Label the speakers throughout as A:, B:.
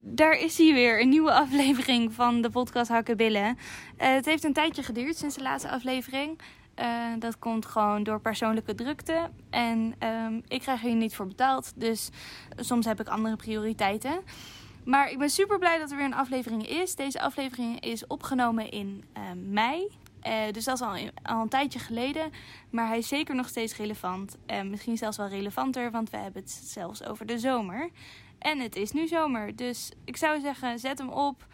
A: Daar is hij weer, een nieuwe aflevering van de podcast Hakken Billen. Eh, het heeft een tijdje geduurd sinds de laatste aflevering. Eh, dat komt gewoon door persoonlijke drukte. En ehm, ik krijg hier niet voor betaald, dus soms heb ik andere prioriteiten. Maar ik ben super blij dat er weer een aflevering is. Deze aflevering is opgenomen in eh, mei. Eh, dus dat is al, al een tijdje geleden. Maar hij is zeker nog steeds relevant. En misschien zelfs wel relevanter, want we hebben het zelfs over de zomer. En het is nu zomer. Dus ik zou zeggen, zet hem op.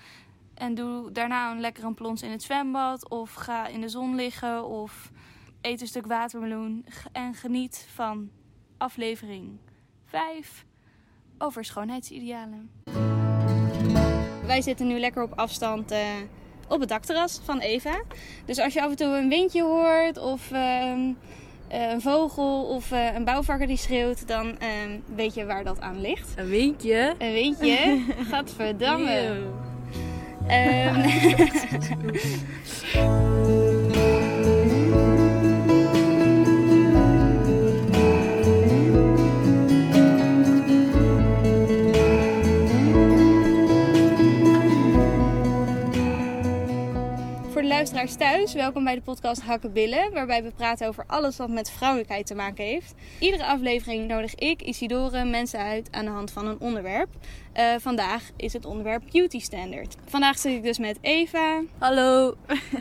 A: En doe daarna een lekker een plons in het zwembad. Of ga in de zon liggen. Of eet een stuk watermeloen. G- En geniet van aflevering 5 over schoonheidsidealen. Wij zitten nu lekker op afstand eh, op het dakterras van Eva. Dus als je af en toe een windje hoort of ehm, eh, een vogel of eh, een bouwvakker die schreeuwt, dan ehm, weet je waar dat aan ligt.
B: Een windje.
A: Een windje? Gadverdamme.
B: Eeuw.
A: Ehm voor de luisteraars thuis, welkom bij de podcast Hakken Billen, waarbij we praten over alles wat met vrouwelijkheid te maken heeft. Iedere aflevering nodig ik, Isidore, mensen uit aan de hand van een onderwerp. Eh, vandaag is het onderwerp beauty standard. Vandaag zit ik dus met Eva
B: Hallo.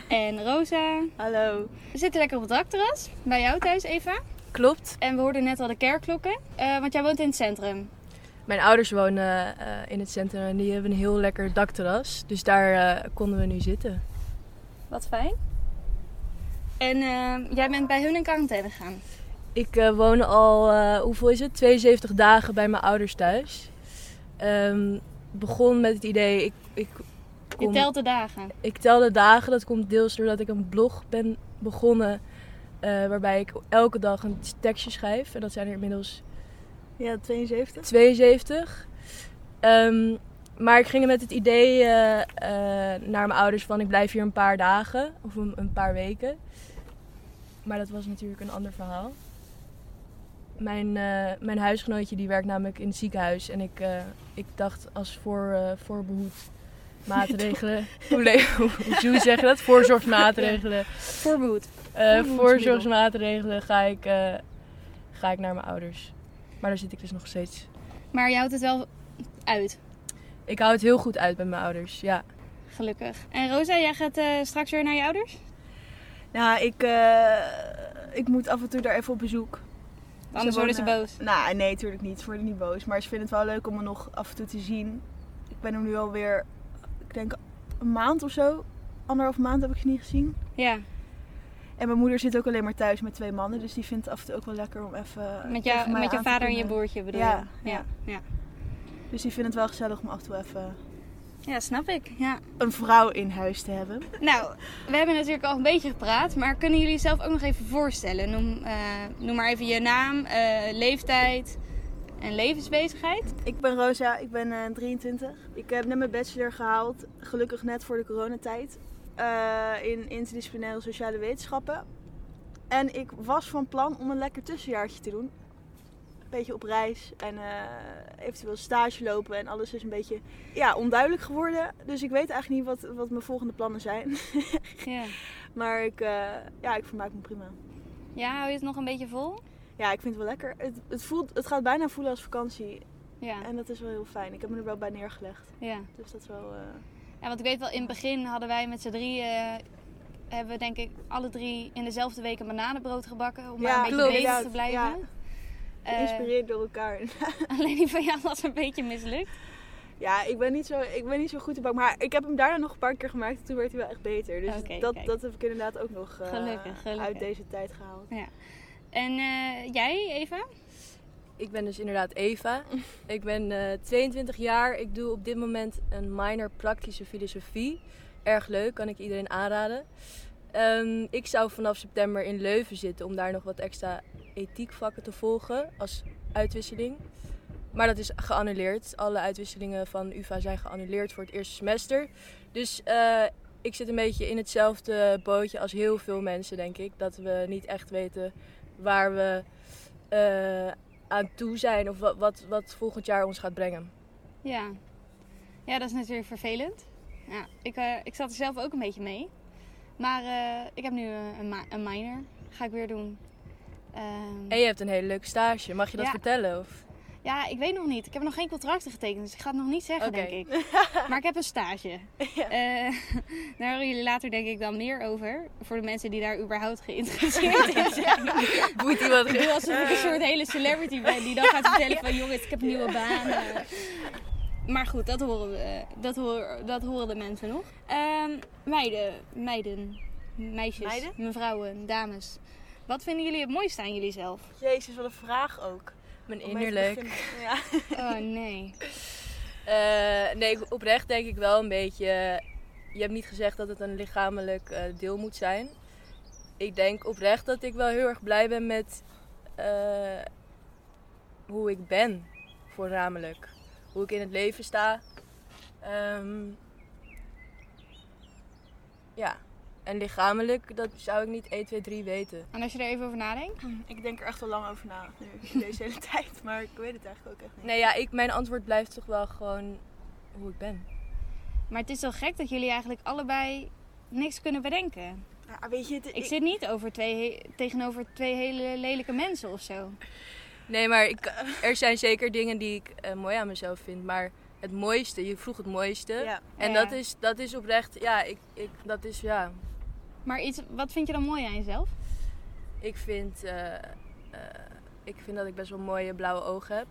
A: en Rosa.
B: Hallo.
A: We zitten lekker op het dakterras, bij jou thuis Eva.
B: Klopt.
A: En we hoorden net al de kerkklokken, eh, want jij woont in het centrum.
B: Mijn ouders wonen eh, in het centrum en die hebben een heel lekker dakterras. Dus daar eh, konden we nu zitten.
A: Wat fijn. En eh, jij bent bij hun in quarantaine gegaan.
B: Ik eh, woon al, eh, hoeveel is het? 72 dagen bij mijn ouders thuis. Ehm, begon met het idee, ik, ik,
A: Je
B: kom-
A: telt de dagen.
B: ik tel de dagen. Dat komt deels doordat ik een blog ben begonnen. eh, waarbij ik elke dag een tekstje schrijf. En dat zijn er inmiddels
C: Ja, 72.
B: 72. Ehm, maar ik ging er met het idee eh, eh, naar mijn ouders van ik blijf hier een paar dagen of een, een paar weken. Maar dat was natuurlijk een ander verhaal. Mijn, eh, mijn huisgenootje die werkt namelijk in het ziekenhuis. En ik, eh, ik dacht als voor, eh voorbehoed maatregelen. hoe, le- hoe- hoe zeg je dat? Voorzorgsmaatregelen.
A: Voorbehoed.
B: Eh,
A: Voorbehoedsmiddel.
B: voorzorgsmaatregelen ga ik, eh, ga ik naar mijn ouders. Maar daar zit ik dus nog steeds
A: Maar je houdt het wel uit,
B: ik hou het heel goed uit bij mijn ouders, ja.
A: gelukkig. En Rosa, jij gaat eh, straks weer naar je ouders?
C: Nou, ik, eh, ik moet af en toe daar even op bezoek.
A: Anders worden ze
C: wonen-
A: boos.
C: Nou, nee, natuurlijk niet. Ze worden niet boos. Maar ze vinden het wel leuk om me nog af en toe te zien. Ik ben er nu alweer, ik denk een maand of zo. Anderhalf maand heb ik ze niet gezien.
A: Ja,
C: En mijn moeder zit ook alleen maar thuis met twee mannen. Dus die vindt het af en toe ook wel lekker om even...
A: met,
C: tegen
A: jou,
C: mij
A: met je
C: aan te
A: vader en je
C: kunnen.
A: broertje bedoel
C: Ja,
A: je?
C: ja.
A: ja.
C: Dus die vindt het wel gezellig om af en toe even
A: Ja, snap ik. Ja.
C: een vrouw in huis te hebben.
A: Nou, we hebben natuurlijk al een beetje gepraat, maar kunnen jullie zelf ook nog even voorstellen? Noem, eh, noem maar even je naam, eh, leeftijd en levensbezigheid.
C: Ik ben Rosa, ik ben eh, 23. Ik heb net mijn bachelor gehaald, gelukkig net voor de coronatijd, eh, in interdisciplinaire sociale wetenschappen. En ik was van plan om een lekker tussenjaartje te doen. Een beetje op reis en eh, eventueel stage lopen en alles is een beetje ja, onduidelijk geworden. Dus ik weet eigenlijk niet wat, wat mijn volgende plannen zijn.
A: Ja.
C: Maar ik, eh, ja, ik vermaak me prima.
A: ja, hou je het nog een beetje vol?
C: Ja, ik vind het wel lekker. Het, het, voelt, het gaat bijna voelen als vakantie.
A: Ja,
C: En dat is wel heel fijn. Ik heb me er wel bij neergelegd.
A: ja.
C: Dus dat is wel... eh,
A: ja, want ik weet wel, in het begin hadden wij met z'n drieën, eh, hebben we denk ik alle drie in dezelfde week een bananenbrood gebakken. Om
C: Ja,
A: maar een beetje
C: klopt.
A: bezig te
C: Inderdaad,
A: blijven.
C: ja.
A: Eh,
C: Geïnspireerd door elkaar.
A: alleen die van jou was een beetje mislukt.
C: Ja, ik ben, niet zo, ik ben niet zo goed in bak. Maar ik heb hem daarna nog een paar keer gemaakt. en Toen werd hij wel echt beter. Dus
A: Oké,
C: dat,
A: kijk.
C: dat heb ik inderdaad ook nog eh,
A: Gelukkig, gelukkig.
C: uit deze tijd gehaald.
A: En eh, jij, Eva?
B: Ik ben dus inderdaad Eva. Ik ben eh, 22 jaar. Ik doe op dit moment een minor praktische filosofie. Erg leuk, kan ik iedereen aanraden. Ehm, ik zou vanaf september in Leuven zitten om daar nog wat extra ethiekvakken te volgen als uitwisseling. Maar dat is geannuleerd. Alle uitwisselingen van UvA zijn geannuleerd voor het eerste semester. Dus eh, ik zit een beetje in hetzelfde bootje als heel veel mensen, denk ik. Dat we niet echt weten waar we eh, aan toe zijn of wat, wat, wat volgend jaar ons gaat brengen.
A: Ja. Ja, dat is natuurlijk vervelend. Ja, ik, eh, ik zat er zelf ook een beetje mee. Maar eh, ik heb nu eh, een, ma- een minor. Ga ik weer doen. Ehm,
B: En je hebt een hele leuke stage. Mag je dat
A: Ja.
B: vertellen? Of?
A: Ja, ik weet nog niet. Ik heb nog geen contracten getekend, dus ik ga het nog niet zeggen,
B: Oké.
A: denk ik. Maar ik heb een stage.
C: Ja.
A: Eh, daar horen jullie later denk ik dan meer over. Voor de mensen die daar überhaupt geïnteresseerd in zijn.
B: Moet iemand
A: Ik doe alsof ik een soort hele celebrity ben die dan gaat vertellen van jongens, ik heb een nieuwe baan. eh. Maar goed, dat horen, we, eh, dat horen, dat horen de mensen nog. Ehm, meiden, meiden, meisjes,
C: Meiden?
A: mevrouwen, dames. Wat vinden jullie het mooiste aan jullie zelf?
C: Jezus, wat een vraag ook.
B: Mijn
C: Om mee te
B: innerlijk.
C: beginnen. Ja.
A: Oh nee.
B: Eh, nee, oprecht denk ik wel een beetje. Je hebt niet gezegd dat het een lichamelijk eh, deel moet zijn. Ik denk oprecht dat ik wel heel erg blij ben met eh, hoe ik ben, voornamelijk. Hoe ik in het leven sta. Ehm, ja, en lichamelijk, dat zou ik niet 1, 2, 3 weten.
A: En als je er even over nadenkt?
C: Ik denk er echt al lang over na, nu, deze hele tijd. Maar ik weet het eigenlijk ook echt niet.
B: Nee, ja, ik, mijn antwoord blijft toch wel gewoon hoe ik ben.
A: Maar het is wel gek dat jullie eigenlijk allebei niks kunnen bedenken.
C: Ja, weet je, het,
A: Ik zit niet over twee, he- tegenover twee hele lelijke mensen of zo.
B: Nee, maar ik, er zijn zeker dingen die ik eh, mooi aan mezelf vind. Maar het mooiste, je vroeg het mooiste.
C: ja.
B: En
A: Ja.
B: dat, is, dat is oprecht, ja, ik, ik, dat is, ja.
A: Maar iets, wat vind je dan mooi aan jezelf?
B: Ik vind, eh, eh, ik vind dat ik best wel mooie blauwe ogen heb.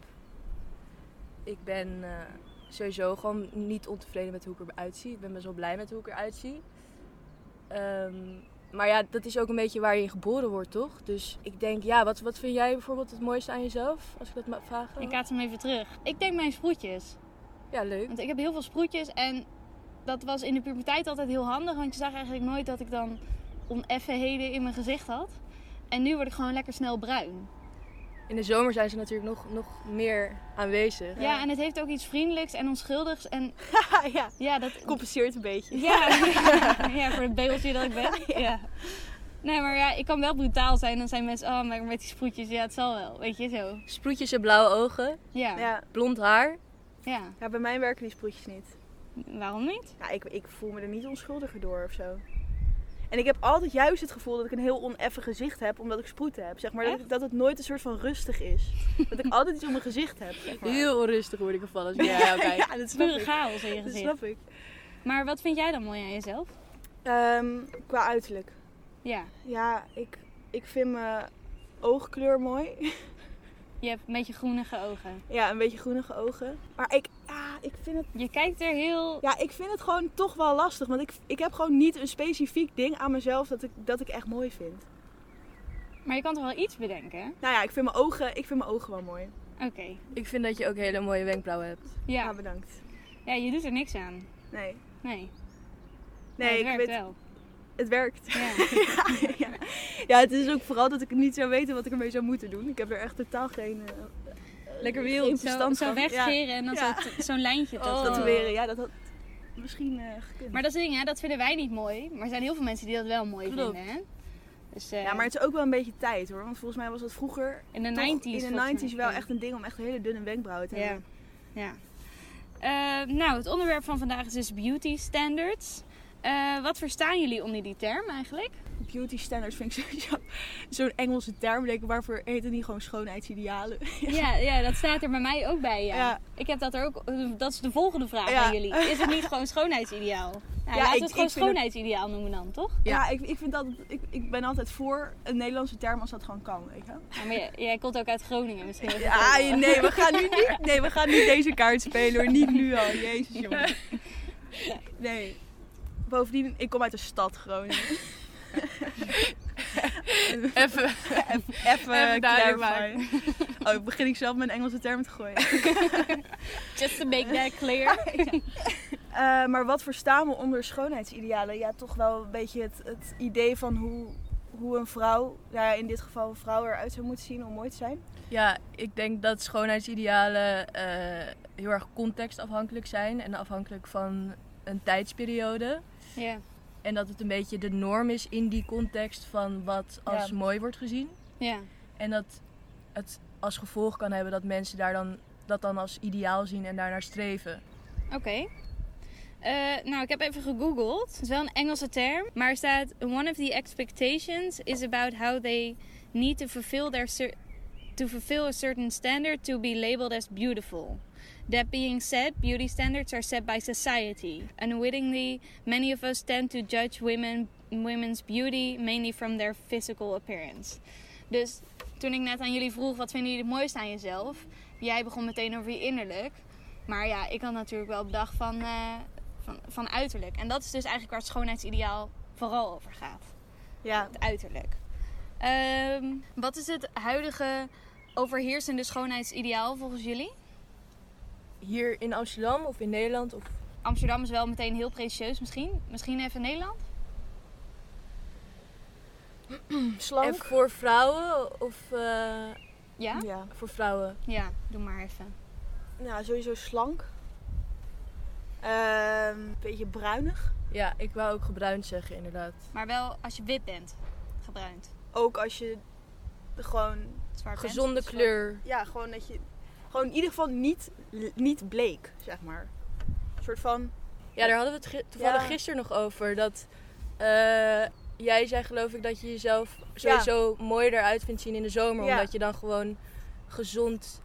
B: Ik ben eh, sowieso gewoon niet ontevreden met hoe ik eruit zie. Ik ben best wel blij met hoe ik eruit zie. Ehm, maar ja, dat is ook een beetje waar je in geboren wordt, toch? Dus ik denk, ja, wat, wat vind jij bijvoorbeeld het mooiste aan jezelf? Als ik dat mag vragen.
A: Ik kaats hem even terug. Ik denk mijn sproetjes.
B: Ja, leuk.
A: Want ik heb heel veel sproetjes en dat was in de puberteit altijd heel handig. Want je zag eigenlijk nooit dat ik dan oneffenheden in mijn gezicht had. En nu word ik gewoon lekker snel bruin.
B: In de zomer zijn ze natuurlijk nog, nog meer aanwezig.
A: Ja, en het heeft ook iets vriendelijks en onschuldigs. En
C: ja,
A: ja, dat,
C: compenseert een beetje.
A: Ja, ja voor het beeldje dat ik ben. Ja. Nee, maar ja, ik kan wel brutaal zijn. Dan zijn mensen, oh, maar met die sproetjes, ja, het zal wel. Weet je, zo.
B: Sproetjes en blauwe ogen,
A: Ja, ja.
C: Ja.
B: blond haar.
C: Ja, bij mij werken die sproetjes niet.
A: Waarom niet?
C: Ja, Nou, ik, ik voel me er niet onschuldiger door of zo. En ik heb altijd juist het gevoel dat ik een heel oneffen gezicht heb, omdat ik sproeten heb. Zeg maar dat, ik- dat het nooit een soort van rustig is. dat ik altijd iets op mijn gezicht heb. Zeg maar.
B: Heel onrustig word ik ervan als ik naar jou kijk.
C: ja, dat snap
A: Pure
C: ik.
A: chaos in je
C: Dat
A: gezicht.
C: snap ik.
A: Maar wat vind jij dan mooi aan jezelf?
C: Ehm, qua uiterlijk.
A: Ja,
C: Ja, ik, ik vind mijn oogkleur mooi.
A: je hebt een beetje groenige ogen.
C: Ja, een beetje groenige ogen. Maar ik, ja, ik vind het,
A: Je kijkt er heel...
C: ja, ik vind het gewoon toch wel lastig. Want ik, ik heb gewoon niet een specifiek ding aan mezelf dat ik, dat ik echt mooi vind.
A: Maar je kan toch wel iets bedenken?
C: Nou ja, ik vind mijn ogen, ik vind mijn ogen wel mooi.
A: Oké.
B: Ik vind dat je ook hele mooie wenkbrauwen hebt.
C: Ja,
A: Ja.
C: Nou, bedankt.
A: ja, je doet er niks aan.
C: Nee,
A: Nee.
C: nee,
A: het
C: ik
A: werkt
C: weet,
A: wel.
C: het werkt.
A: Ja.
C: ja, ja. ja, het is ook vooral dat ik niet zou weten wat ik ermee zou moeten doen. Ik heb er echt totaal geen eh,
B: Lekker
C: wild.
A: Zo,
C: verstand
A: zo
C: van.
A: wegscheren en dan
C: Ja.
A: zo- zo'n lijntje. tot-
B: Oh.
C: tatoeëren. Ja, dat eh, had misschien eh, gekund.
A: Maar dat is het ding, hè? dat vinden wij niet mooi. Maar er zijn heel veel mensen die dat wel mooi
B: Klopt.
A: vinden. Hè? Dus, eh,
C: ja, maar het is ook wel een beetje tijd hoor. Want volgens mij was dat vroeger
A: in de
C: toch
A: 90s.
C: in
A: volgens
C: de
A: mij.
C: 90s wel echt een ding om echt hele dunne wenkbrauwen te
A: Ja.
C: hebben.
A: Ja. Eh, nou, het onderwerp van vandaag is dus beauty standards. Eh, wat verstaan jullie onder die term eigenlijk?
C: Beauty standards vind ik sowieso zo'n Engelse term. Denk ik, waarvoor heet het niet gewoon schoonheidsidealen?
A: Ja, ja, dat staat er bij mij ook bij. Ja.
C: Ja.
A: Ik heb dat er ook. Dat is de volgende vraag
C: Ja.
A: aan jullie. Is het niet gewoon schoonheidsideaal? Nou, laten
C: ik-
A: we het gewoon
C: ik vind het-
A: schoonheidsideaal noemen dan, toch?
C: Ja, ik, ik, vind altijd, ik, ik ben altijd voor een Nederlandse term als dat gewoon kan. Weet je?
A: Ja, maar jij, jij komt ook uit Groningen misschien. is dat
C: Ja,
A: ook wel.
C: nee, we gaan nu niet, nee, we gaan niet deze kaart spelen hoor. Niet nu al. Jezus jongen. Nee. Bovendien, ik kom uit de stad Groningen.
B: Even.
C: Even
B: Even duidelijk maken.
C: clarify. Oh, begin ik zelf mijn Engelse term te gooien.
A: Just to make that clear.
C: Eh, maar wat verstaan we onder schoonheidsidealen? Ja, toch wel een beetje het, het idee van hoe, hoe een vrouw, nou ja, in dit geval een vrouw, eruit zou moeten zien om mooi te zijn.
B: Ja, ik denk dat schoonheidsidealen eh, heel erg contextafhankelijk zijn en afhankelijk van een tijdsperiode.
A: Ja.
B: En dat het een beetje de norm is in die context van wat als
C: Ja.
B: mooi wordt gezien.
A: Ja.
B: En dat het als gevolg kan hebben dat mensen daar dan, dat dan als ideaal zien en daarnaar streven.
A: Oké. Eh, nou, ik heb even gegoogeld. Het is wel een Engelse term. Maar er staat... One of the expectations is about how they need to fulfill their... cer- to fulfill a certain standard to be labeled as beautiful. That being said, beauty standards are set by society. Unwittingly, many of us tend to judge women, women's beauty mainly from their physical appearance. Dus toen ik net aan jullie vroeg, wat vinden jullie het mooiste aan jezelf? Jij begon meteen over je innerlijk. Maar ja, ik had natuurlijk wel bedacht van, eh, van, van uiterlijk. En dat is dus eigenlijk waar het schoonheidsideaal vooral over gaat.
C: Ja,
A: Het uiterlijk. Ehm, wat is het huidige overheersende schoonheidsideaal volgens jullie?
B: Hier in Amsterdam of in Nederland of
C: Mm,
A: Amsterdam is wel meteen heel pretentieus misschien. Misschien even Nederland?
C: slank.
B: En voor vrouwen of eh,
A: Ja?
C: Ja.
B: voor vrouwen?
A: Ja, doe maar even.
C: Nou, sowieso slank. Ehm, Een beetje bruinig.
B: Ja, ik wou ook gebruind zeggen inderdaad.
A: Maar wel als je wit bent, gebruind.
C: Ook als je gewoon,
A: Zwaar bent.
B: Gezonde
A: Zwart.
B: kleur.
C: ja, gewoon dat je, gewoon in ieder geval niet, niet bleek, zeg maar. Een soort van,
B: Ja, daar hadden we het gi- toevallig
C: Ja.
B: gisteren nog over. Dat eh, jij zei geloof ik dat je jezelf sowieso mooier eruit vindt zien in de zomer.
C: Ja.
B: Omdat je dan gewoon gezond,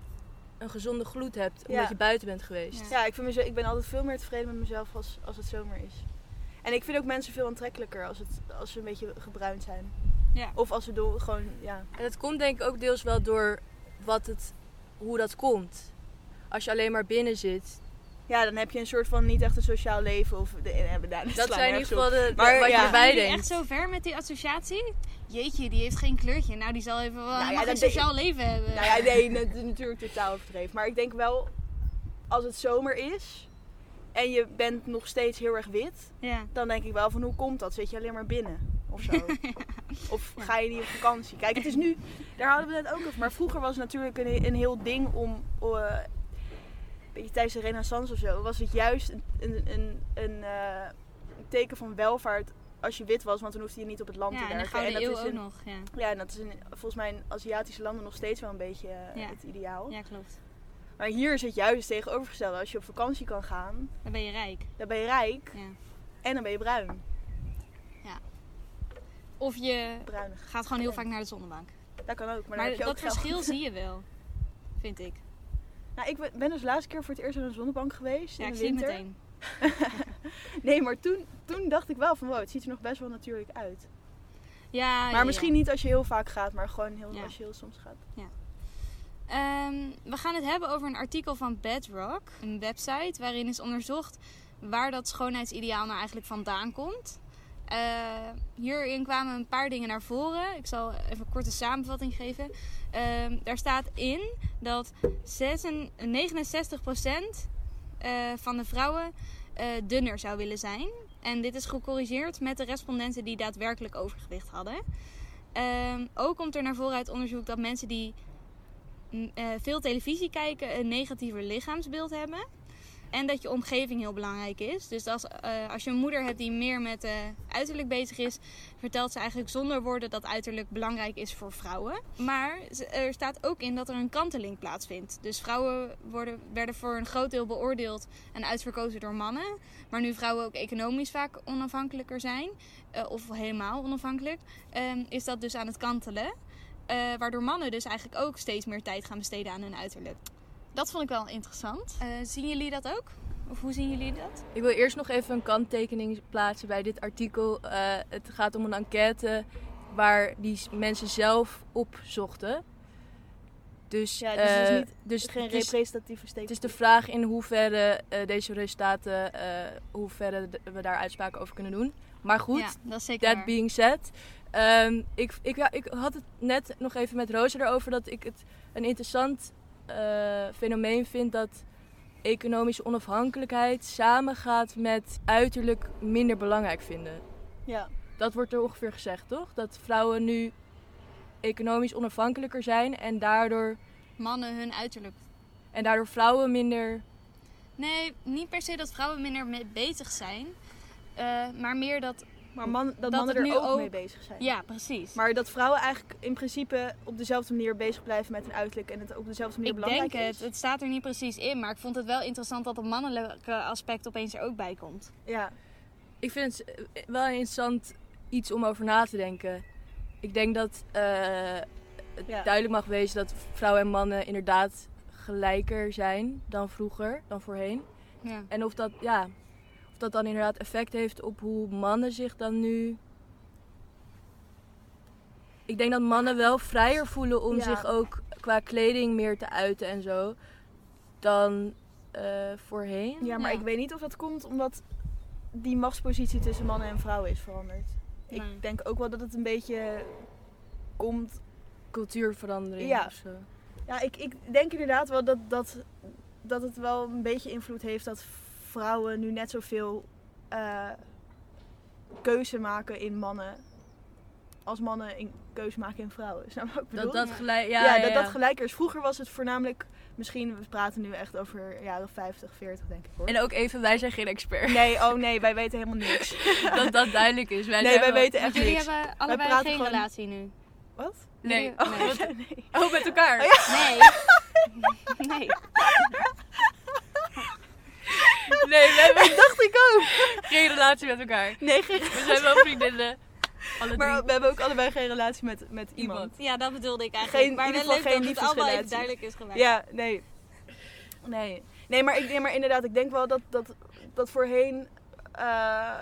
B: een gezonde gloed hebt. Omdat
C: Ja.
B: je buiten bent geweest.
A: Ja.
C: ja, ik, vind mezelf, ik ben altijd veel meer tevreden met mezelf als, als het zomer is. En ik vind ook mensen veel aantrekkelijker als, het, als ze een beetje gebruind zijn.
A: Ja.
C: Of als ze door, gewoon, ja.
B: En dat komt denk ik ook deels wel door wat het, hoe dat komt. Als je alleen maar binnen zit.
C: Ja, dan heb je een soort van niet echt een sociaal leven. Of, de, en, en, daar
B: Dat zijn in ieder geval de, de-
C: Maar
B: wat
C: ja.
B: je
A: Zijn
B: erbij
A: jullie echt
B: denkt.
A: zo ver met die associatie? Jeetje, die heeft geen kleurtje. Nou, die zal even wel
C: ja,
A: helemaal
C: dat
A: geen
C: denk-
A: sociaal leven hebben.
C: Nou ja, nee, dat is natuurlijk totaal overdreven. Maar ik denk wel, als het zomer is en je bent nog steeds heel erg wit,
A: Ja.
C: dan denk ik wel van hoe komt dat? Zit je alleen maar binnen of zo? Of ga je niet op vakantie? Kijk, het is nu, daar hadden we het ook over. Maar vroeger was het natuurlijk een, een heel ding om, eh, een beetje tijdens de renaissance of zo, was het juist een, een, een, een, eh, een teken van welvaart als je wit was, want dan hoefde je niet op het land te
A: Ja, en de
C: werken.
A: Gouden Eeuw
C: is
A: ook
C: in-
A: nog. Ja.
C: Ja, en dat is in, volgens mij in Aziatische landen nog steeds wel een beetje eh,
A: Ja.
C: het ideaal.
A: ja, klopt.
C: Maar hier is het juist tegenovergestelde. Als je op vakantie kan gaan,
A: Dan ben je rijk.
C: dan ben je rijk
A: Ja.
C: en dan ben je bruin.
A: Of je
C: Bruinig.
A: gaat gewoon heel vaak naar de zonnebank.
C: Dat kan ook, maar,
A: Maar,
C: dan heb je
A: dat
C: ook geld.
A: verschil zie je wel, vind ik.
C: Nou, ik ben dus de laatste keer voor het eerst aan een zonnebank geweest
A: Ja,
C: in
A: ik
C: de
A: zie het
C: winter.
A: meteen.
C: Nee, maar toen, toen dacht ik wel van wow, het ziet er nog best wel natuurlijk uit.
A: Ja, Ah, ja,
C: maar
A: ja.
C: misschien niet als je heel vaak gaat, maar gewoon heel,
A: Ja. Dus
C: als je heel soms gaat.
A: Ehm, we gaan het hebben over een artikel van Bedrock, een website waarin is onderzocht waar dat schoonheidsideaal nou eigenlijk vandaan komt. Eh, hierin kwamen een paar dingen naar voren. Ik zal even een korte samenvatting geven. Ehm, daar staat in dat 6 en- 69% eh, van de vrouwen eh, dunner zou willen zijn. En dit is gecorrigeerd met de respondenten die daadwerkelijk overgewicht hadden. Ehm, ook komt er naar voren uit onderzoek dat mensen die m- eh, veel televisie kijken een negatiever lichaamsbeeld hebben. En dat je omgeving heel belangrijk is. Dus als, eh, als je een moeder hebt die meer met eh, uiterlijk bezig is, vertelt ze eigenlijk zonder woorden dat uiterlijk belangrijk is voor vrouwen. Maar ze- er staat ook in dat er een kanteling plaatsvindt. Dus vrouwen worden, werden voor een groot deel beoordeeld en uitverkozen door mannen. Maar nu vrouwen ook economisch vaak onafhankelijker zijn, eh, of helemaal onafhankelijk, ehm, is dat dus aan het kantelen. Eh, waardoor mannen dus eigenlijk ook steeds meer tijd gaan besteden aan hun uiterlijk. Dat vond ik wel interessant. Eh, zien jullie dat ook? Of hoe zien jullie dat?
B: Ik wil eerst nog even een kanttekening plaatsen bij dit artikel. Eh, het gaat om een enquête waar die s- mensen zelf opzochten. Dus,
C: Ja, dus het is
B: eh,
C: niet-
B: dus
C: Het is geen
B: het is-
C: representatieve steek.
B: Het is de vraag in hoeverre eh, deze resultaten, eh hoeverre d- we daar uitspraken over kunnen doen. Maar goed,
A: Ja, dat is zeker.
B: that
A: waar.
B: being said. ehm, ik, ik, ja, ik had het net nog even met Rosa erover dat ik het een interessant eh, fenomeen vind dat economische onafhankelijkheid samengaat met uiterlijk minder belangrijk vinden.
C: Ja.
B: Dat wordt er ongeveer gezegd, toch? Dat vrouwen nu economisch onafhankelijker zijn en daardoor,
A: Mannen hun uiterlijk.
B: en daardoor vrouwen minder
A: Nee, niet per se dat vrouwen minder mee bezig zijn. eh, maar meer dat
C: Maar man, dat, mannen
A: het
C: er
A: nu
C: ook,
A: ook-
C: mee bezig zijn.
A: Ja, precies.
C: Maar dat vrouwen eigenlijk in principe op dezelfde manier bezig blijven met hun uiterlijk en het op dezelfde manier
A: ik
C: belangrijk
A: denk het.
C: is.
A: Het staat er niet precies in. Maar ik vond het wel interessant dat het mannelijke aspect opeens er ook bij komt.
C: Ja,
B: Ik vind het eh, wel een interessant iets om over na te denken. Ik denk dat eh, het
C: Ja.
B: duidelijk mag wezen dat vrouwen en mannen inderdaad gelijker zijn dan vroeger, dan voorheen.
A: Ja.
B: En of dat, ja, of dat dan inderdaad effect heeft op hoe mannen zich dan nu. Ik denk dat mannen wel vrijer voelen om
C: Ja.
B: zich ook qua kleding meer te uiten en zo dan eh, voorheen.
C: ja maar
A: Ja.
C: ik weet niet of dat komt omdat die machtspositie tussen mannen en vrouwen is veranderd.
A: Nee.
C: Ik denk ook wel dat het een beetje komt.
B: Cultuurverandering
C: Ja.
B: of zo.
C: Ja, ik, ik denk inderdaad wel dat, dat, dat het wel een beetje invloed heeft dat vrouwen nu net zoveel eh, keuze maken in mannen. Als mannen in keuze maken in vrouwen. Snap je wat ik bedoel?
B: Dat dat gelijk. Ja,
C: ja,
B: ja,
C: dat
B: ja.
C: dat gelijker is. Vroeger was het voornamelijk, misschien, we praten nu echt over jaren 50, 40 denk ik hoor.
B: En ook even, wij zijn geen expert.
C: Nee, oh nee, wij weten helemaal niks.
B: dat dat duidelijk is. Wij
C: Nee,
B: zijn
C: wij
B: wel-
C: weten
A: Want
C: echt
A: jullie
C: niks.
A: hebben allebei geen
C: praten gewoon-
A: relatie nu.
C: Wat?
B: Nee.
A: Jullie-
C: Oh,
A: Nee.
C: nee.
B: Oh, met elkaar.
A: Nee. Nee.
B: Nee, we hebben
C: Dacht ik ook.
B: geen relatie met elkaar.
C: Nee, geen-
B: We zijn wel vriendinnen. Alle drie.
C: Maar we hebben ook allebei geen relatie met, met iemand.
A: Ja, dat bedoelde ik eigenlijk.
C: Geen-
A: maar
C: in
A: wel
C: ieder geval
A: leuk dat
C: geen
A: het allemaal even
C: liefdesrelatie.
A: duidelijk is gemaakt.
C: Ja, nee. Nee. Nee, maar, ik, nee, maar inderdaad, ik denk wel dat, dat, dat voorheen eh,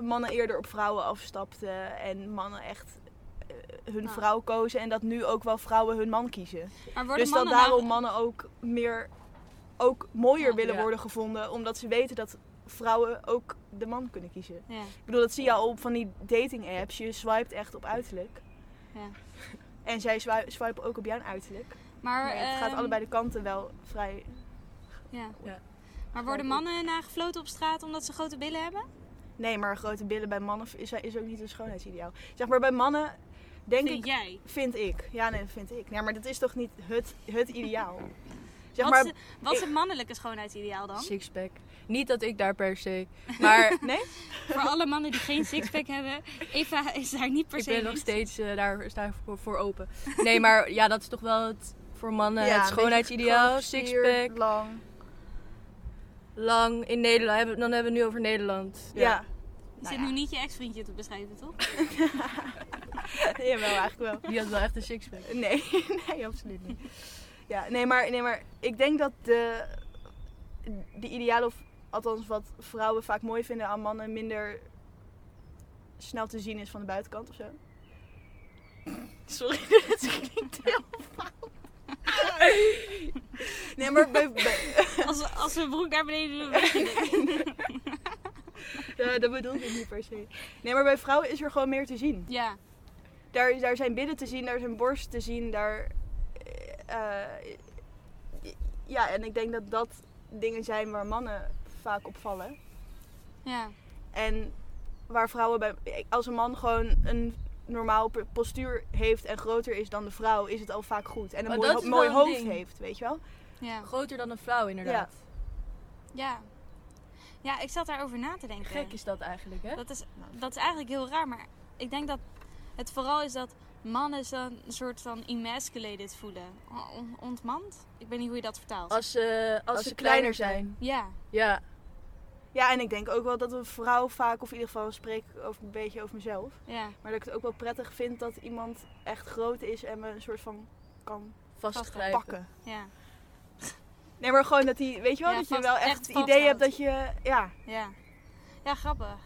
C: mannen eerder op vrouwen afstapten. En mannen echt eh, hun
A: Ah.
C: vrouw kozen. En dat nu ook wel vrouwen hun man kiezen.
A: Maar worden
C: Dus dat
A: mannen
C: daarom mannen ook meer, ook mooier
A: Ja.
C: willen
B: Ja.
C: worden gevonden. Omdat ze weten dat vrouwen ook de man kunnen kiezen.
A: Ja.
C: Ik bedoel, dat zie je al op van die dating apps. Je swipet echt op uiterlijk.
A: Ja.
C: En zij swi- swipen ook op jouw uiterlijk.
A: Maar,
C: Maar het gaat
A: ehm,
C: allebei de kanten wel vrij.
A: ja.
B: Ja.
A: Maar worden mannen nagefloten op straat omdat ze grote billen hebben?
C: Nee, maar grote billen bij mannen is, is ook niet een schoonheidsideaal. Zeg maar bij mannen, denk
A: Vind
C: ik,
A: jij?
C: vind ik. Ja, nee, dat vind ik. Nee, maar dat is toch niet het, het ideaal? Zeg
A: Wat,
C: maar,
A: is, wat is het mannelijke schoonheidsideaal dan?
B: Sixpack. Niet dat ik daar per se. Maar
C: nee?
A: Voor alle mannen die geen sixpack hebben, Eva is daar niet per
B: ik
A: se
B: ben nog
A: in.
B: steeds eh, daar sta ik voor, voor open. Nee, maar ja, dat is toch wel het, voor mannen
C: Ja, een
B: het
C: beetje
B: schoonheidsideaal.
C: gecorseerd,
B: Sixpack,
C: Lang.
B: lang in Nederland. Hebben- Dan hebben we het nu over Nederland.
C: Nou Ja.
A: Je zit nu niet je ex-vriendje te beschrijven, toch?
C: Jawel, eigenlijk wel.
B: Die had wel echt een sixpack.
C: Nee, nee, absoluut niet. Ja, nee, maar, nee, maar ik denk dat de, de idealen, of althans wat vrouwen vaak mooi vinden aan mannen, minder snel te zien is van de buitenkant of zo. Sorry, dat klinkt heel fout. Nee, maar bij, bij-
A: Als, als we broek naar beneden doen, weet je dat.
C: eh, dat bedoelde ik niet per se. Nee, maar bij vrouwen is er gewoon meer te zien.
A: Ja,
C: daar, daar zijn billen te zien, daar zijn borst te zien, daar... eh, eh, ja, en ik denk dat dat dingen zijn waar mannen vaak op vallen.
A: ja.
C: En waar vrouwen bij... Als een man gewoon een normaal p- postuur heeft en groter is dan de vrouw, is het al vaak goed. En een
B: Maar
C: mooi,
B: dat
C: ho-
B: is wel
C: mooi
B: een
C: hoofd
B: ding.
C: heeft, weet je wel?
A: Ja.
B: Groter dan een vrouw, inderdaad.
A: Ja. Ja, ik zat daarover na te denken.
B: Gek is dat eigenlijk, hè?
A: Dat is, dat is eigenlijk heel raar, maar ik denk dat het vooral is dat mannen ze een soort van emasculated voelen. On- ontmand? Ik weet niet hoe je dat vertaalt.
B: Als ze, als ze kleiner zijn.
A: Ja,
B: Ja.
C: Ja, en ik denk ook wel dat een vrouw vaak, of in ieder geval spreek ik over, een beetje over mezelf,
A: ja.
C: maar dat ik het ook wel prettig vind dat iemand echt groot is en me een soort van kan
B: Vastgrijpen.
C: pakken.
A: Ja,
C: Nee, maar gewoon dat die, weet je wel,
A: Ja,
C: dat
A: vast-
C: je wel echt
A: echt
C: het
A: vasthoudt.
C: idee hebt dat je, ja,
A: ja. Ja, grappig.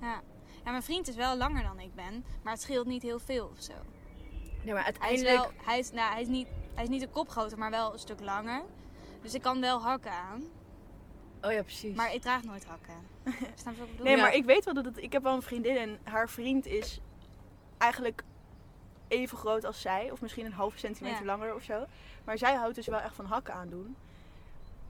A: Ja. ja, mijn vriend is wel langer dan ik ben, maar het scheelt niet heel veel of zo.
B: Nee, maar
A: Hij is,
B: uiteindelijk.
A: wel, hij, is, nou, hij, is niet, hij is niet een kop groter, maar wel een stuk langer. Dus ik kan wel hakken aan,
B: Oh ja, precies.
A: maar ik draag nooit hakken. Snap je wat ik bedoel?
C: nee,
B: Ja.
C: maar ik weet wel dat het, ik heb wel een vriendin en haar vriend is eigenlijk even groot als zij, of misschien een halve centimeter
A: Ja.
C: langer of zo. Maar zij houdt dus wel echt van hakken aandoen.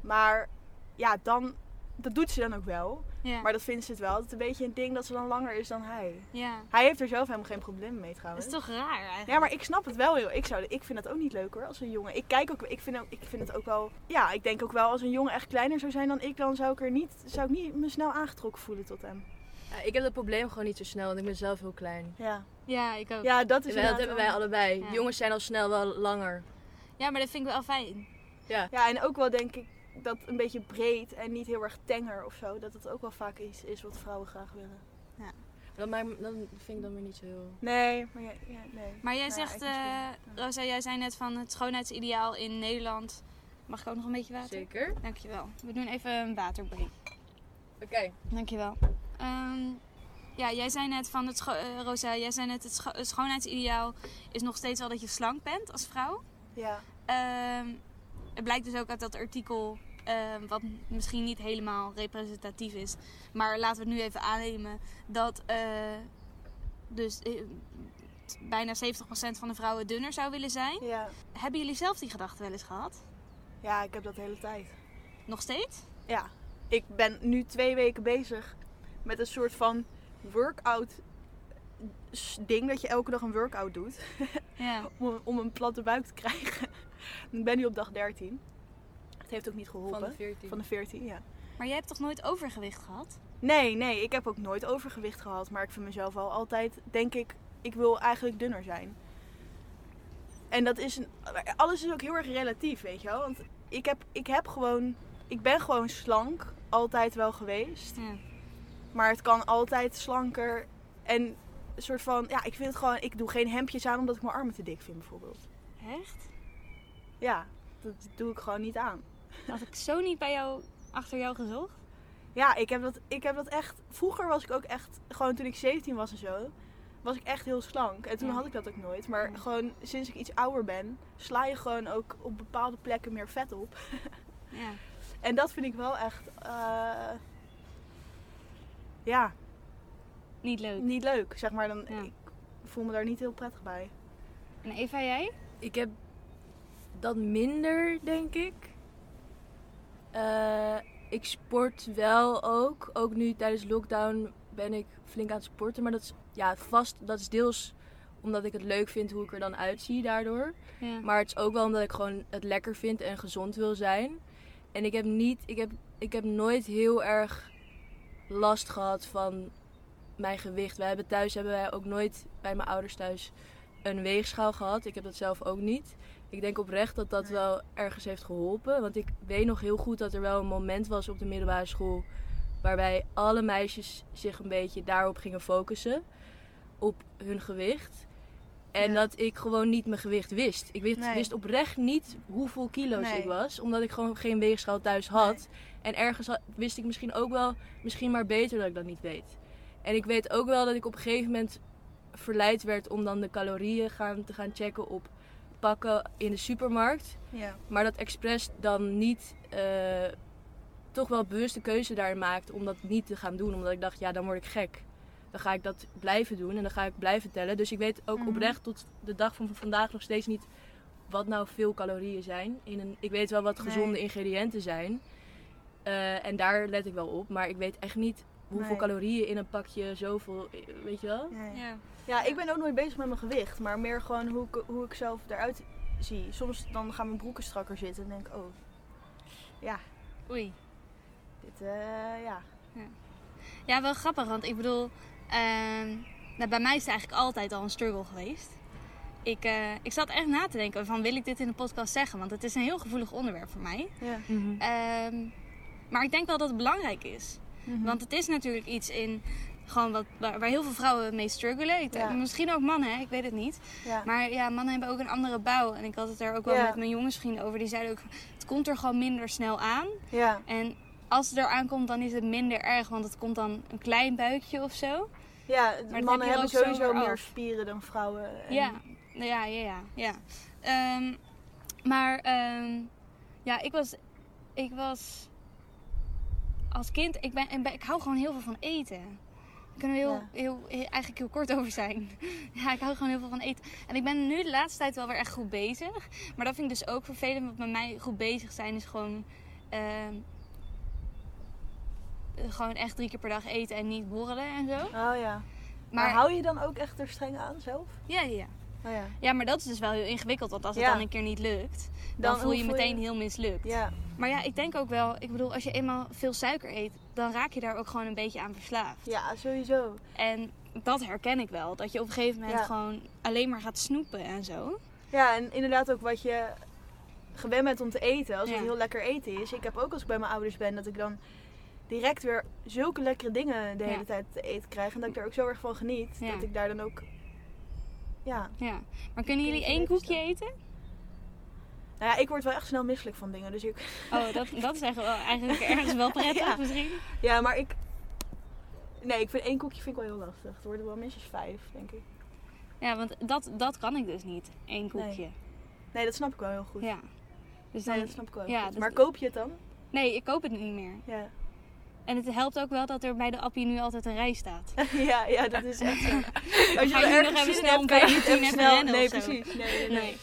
C: Maar ja, dan, dat doet ze dan ook wel.
A: Ja.
C: Maar dat vindt ze het wel altijd een beetje een ding dat ze dan langer is dan hij.
A: ja.
C: Hij heeft er zelf helemaal geen probleem mee
A: Dat
C: trouwens.
A: is toch raar eigenlijk?
C: Ja, maar ik snap het wel heel. Ik, zou, ik vind dat ook niet leuk hoor, als een jongen. Ik kijk ook, ik vind, ook, ik vind het ook wel. Ja, ik denk ook wel als een jongen echt kleiner zou zijn dan ik, dan zou ik er niet, zou ik niet me snel aangetrokken voelen tot hem.
B: Ja, ik heb dat probleem gewoon niet zo snel, want ik ben zelf heel klein.
C: Ja,
A: Ja, ik ook. Ja.
C: ja dat is
B: Wij- dat
C: inderdaad
B: hebben
C: wel-
B: wij allebei.
A: Ja.
B: Jongens zijn al snel wel langer.
A: maar dat vind ik wel fijn.
C: Ja, en ook wel denk ik dat een beetje breed en niet heel erg tenger of zo. Dat dat ook wel vaak iets is wat vrouwen graag willen.
B: Dat, maakt, dat vind ik dan weer niet zo heel...
C: Nee, maar ja, ja, nee.
A: Maar jij
C: Nou,
A: zegt,
C: ik misschien,
A: eh,
C: ja.
A: Rosa, jij zei net van het schoonheidsideaal in Nederland. Mag ik ook nog een beetje water?
B: Zeker.
A: Dankjewel. We doen even een waterbreak.
B: Oké.
A: Dankjewel. Ehm ja, jij zei net van het scho- eh, Rosa, jij zei net het, scho- het schoonheidsideaal is nog steeds wel dat je slank bent als vrouw.
C: Ja,
A: Ehm, het blijkt dus ook uit dat artikel, ehm, wat misschien niet helemaal representatief is, maar laten we het nu even aannemen dat eh, dus eh, bijna 70% van de vrouwen dunner zou willen zijn.
C: ja.
A: Hebben jullie zelf die gedachte wel eens gehad?
C: ja, ik heb dat de hele tijd.
A: Nog steeds?
C: Ja, ik ben nu twee weken bezig met een soort van workout s- ding dat je elke dag een workout doet
A: Ja.
C: om, een- om een platte buik te krijgen. ik ben nu op dag 13. Het heeft ook niet geholpen.
B: Van de 14.
C: Van de 14, ja.
A: Maar jij hebt toch nooit overgewicht gehad?
C: Nee, nee, ik heb ook nooit overgewicht gehad, maar ik vind mezelf wel altijd, denk ik, ik wil eigenlijk dunner zijn. En dat is, een, alles is ook heel erg relatief, weet je wel. Want ik heb, ik heb gewoon, ik ben gewoon slank, altijd wel geweest.
A: Ja.
C: Maar het kan altijd slanker. En een soort van, ja, ik vind het gewoon, ik doe geen hemdjes aan omdat ik mijn armen te dik vind, bijvoorbeeld.
A: Echt?
C: Ja, dat doe ik gewoon niet aan.
A: Had ik zo niet bij jou, achter jou gezocht?
C: Ja, ik heb, dat, ik heb dat echt. Vroeger was ik ook echt. Gewoon toen ik 17 was en zo. Was ik echt heel slank. En toen
A: Ja.
C: had ik dat ook nooit. Maar
A: Nee.
C: gewoon sinds ik iets ouder ben. Sla je gewoon ook op bepaalde plekken meer vet op.
A: Ja.
C: En dat vind ik wel echt. eh, ja,
A: Niet leuk.
C: niet leuk. Zeg maar dan.
A: Ja.
C: Ik voel me daar niet heel prettig bij.
A: En Eva, jij?
B: Ik heb dat minder, denk ik. Eh, ik sport wel ook. Ook nu tijdens lockdown ben ik flink aan het sporten. Maar dat is, ja, vast, dat is deels omdat ik het leuk vind hoe ik er dan uitzie daardoor.
A: Ja.
B: Maar het is ook wel omdat ik gewoon het lekker vind en gezond wil zijn. En ik heb, niet, ik heb, ik heb nooit heel erg last gehad van mijn gewicht. Wij hebben thuis hebben wij ook nooit bij mijn ouders thuis een weegschaal gehad. Ik heb dat zelf ook niet. Ik denk oprecht dat dat
C: Nee.
B: wel ergens heeft geholpen. Want ik weet nog heel goed dat er wel een moment was op de middelbare school. waarbij alle meisjes zich een beetje daarop gingen focussen. op hun gewicht. En
C: Ja.
B: dat ik gewoon niet mijn gewicht wist. Ik wist,
C: Nee.
B: wist oprecht niet hoeveel kilo's
C: Nee.
B: ik was. Omdat ik gewoon geen weegschaal thuis had. En ergens had- wist ik misschien ook wel, misschien maar beter dat ik dat niet weet. En ik weet ook wel dat ik op een gegeven moment verleid werd om dan de calorieën gaan, te gaan checken op pakken in de supermarkt.
C: Ja.
B: Maar dat expres dan niet eh, toch wel bewuste keuze daarin maakte om dat niet te gaan doen. Omdat ik dacht, ja, dan word ik gek. Dan ga ik dat blijven doen en dan ga ik blijven tellen. Dus ik weet ook
A: Mhm.
B: oprecht tot de dag van vandaag nog steeds niet wat nou veel calorieën zijn. In een, ik weet wel wat
C: Nee.
B: gezonde ingrediënten zijn. Eh, en daar let ik wel op. Maar ik weet echt niet hoeveel
C: Nee.
B: calorieën in een pakje zoveel, eh, weet je wel?
C: Ja, ja.
A: Ja.
C: Ja, ik ben ook nooit bezig met mijn gewicht, maar meer gewoon hoe ik, hoe ik zelf eruit zie. Soms dan gaan mijn broeken strakker zitten en denk ik, oh,
A: Oei.
C: dit, eh, ja.
A: Ja, wel grappig, want ik bedoel, ehm, nou, bij mij is het eigenlijk altijd al een struggle geweest. Ik, eh, ik zat echt na te denken van wil ik dit in de podcast zeggen, want het is een heel gevoelig onderwerp voor mij.
C: ja.
A: Ehm, maar ik denk wel dat het belangrijk is.
C: Mhm.
A: Want het is natuurlijk iets in gewoon wat, waar, waar heel veel vrouwen mee struggelen. Ik, denk-
C: Ja.
A: Misschien ook mannen, hè? ik weet het niet.
C: ja.
A: Maar ja, mannen hebben ook een andere bouw. En ik had het er ook wel
C: Ja.
A: met mijn jongensvrienden over. Die zeiden ook, het komt er gewoon minder snel aan.
C: ja.
A: En als het er aankomt, dan is het minder erg. Want het komt dan een klein buikje of zo.
C: Ja,
A: heb je
C: mannen
A: er
C: hebben
A: ook zo
C: sowieso
A: weer
C: meer
A: af.
C: spieren dan vrouwen. En-
A: Ja, nou ja, ja, ja. ja. Ehm, maar ehm, ja, ik was, ik was als kind, ik, ben, ik, ben- ik hou gewoon heel veel van eten. Daar kunnen we heel,
C: Ja.
A: heel, he- eigenlijk heel kort over zijn. ja, ik hou gewoon heel veel van eten. En ik ben nu de laatste tijd wel weer echt goed bezig. Maar dat vind ik dus ook vervelend, want bij mij goed bezig zijn is gewoon... ehm, gewoon echt drie keer per dag eten en niet borrelen en zo.
C: Oh ja. Maar,
A: Maar,
C: hou je dan ook echt er streng aan zelf?
A: ja, ja, ja.
C: Oh ja.
A: Ja, maar dat is dus wel heel ingewikkeld. Want als het
C: Ja.
A: dan een keer niet lukt, dan, voel
C: hoe
A: je je meteen heel mislukt.
C: Ja,
A: Maar ja, ik denk ook wel, ik bedoel, als je eenmaal veel suiker eet, dan raak je daar ook gewoon een beetje aan verslaafd.
C: Ja, sowieso.
A: En dat herken ik wel. Dat je op een gegeven moment
C: Ja.
A: gewoon alleen maar gaat snoepen en zo.
C: Ja, en inderdaad ook wat je gewend bent om te eten. Als
A: Ja.
C: het heel lekker eten is. Ik heb ook als ik bij mijn ouders ben, dat ik dan direct weer zulke lekkere dingen de hele
A: Ja.
C: tijd te eten krijg. En dat ik er ook zo erg van geniet.
A: Ja.
C: Dat ik daar dan ook... Ja.
A: Ja. Maar kunnen jullie
C: je
A: één
C: even
A: koekje
C: staan.
A: eten?
C: Nou ja, ik word wel echt snel misselijk van dingen. Dus ik...
A: Oh, dat, dat is echt wel, eigenlijk ergens wel prettig
C: Ja.
A: misschien.
C: Ja, maar ik... Nee, ik vind één koekje vind ik wel heel lastig. Het worden wel minstens vijf, denk ik.
A: Ja, want dat, dat kan ik dus niet. Eén koekje.
C: Nee, dat snap ik wel heel goed.
A: Ja. Dus dan,
C: Nee, dat snap ik wel. heel
A: ja,
C: goed.
A: dat-
C: Maar koop je het dan?
A: nee, ik koop het niet meer.
C: Ja.
A: En het helpt ook wel dat er bij de appie nu altijd een rij staat.
C: ja, ja, dat is echt zo. Als
A: Ga je nu nog even
C: zin in
A: snel
C: hebt,
A: om
C: kan je
A: bij
C: niet
A: tien
C: even
A: even
C: snel.
A: rennen
C: Nee,
A: of zo.
C: precies. Nee, nee, nee.
A: Nee.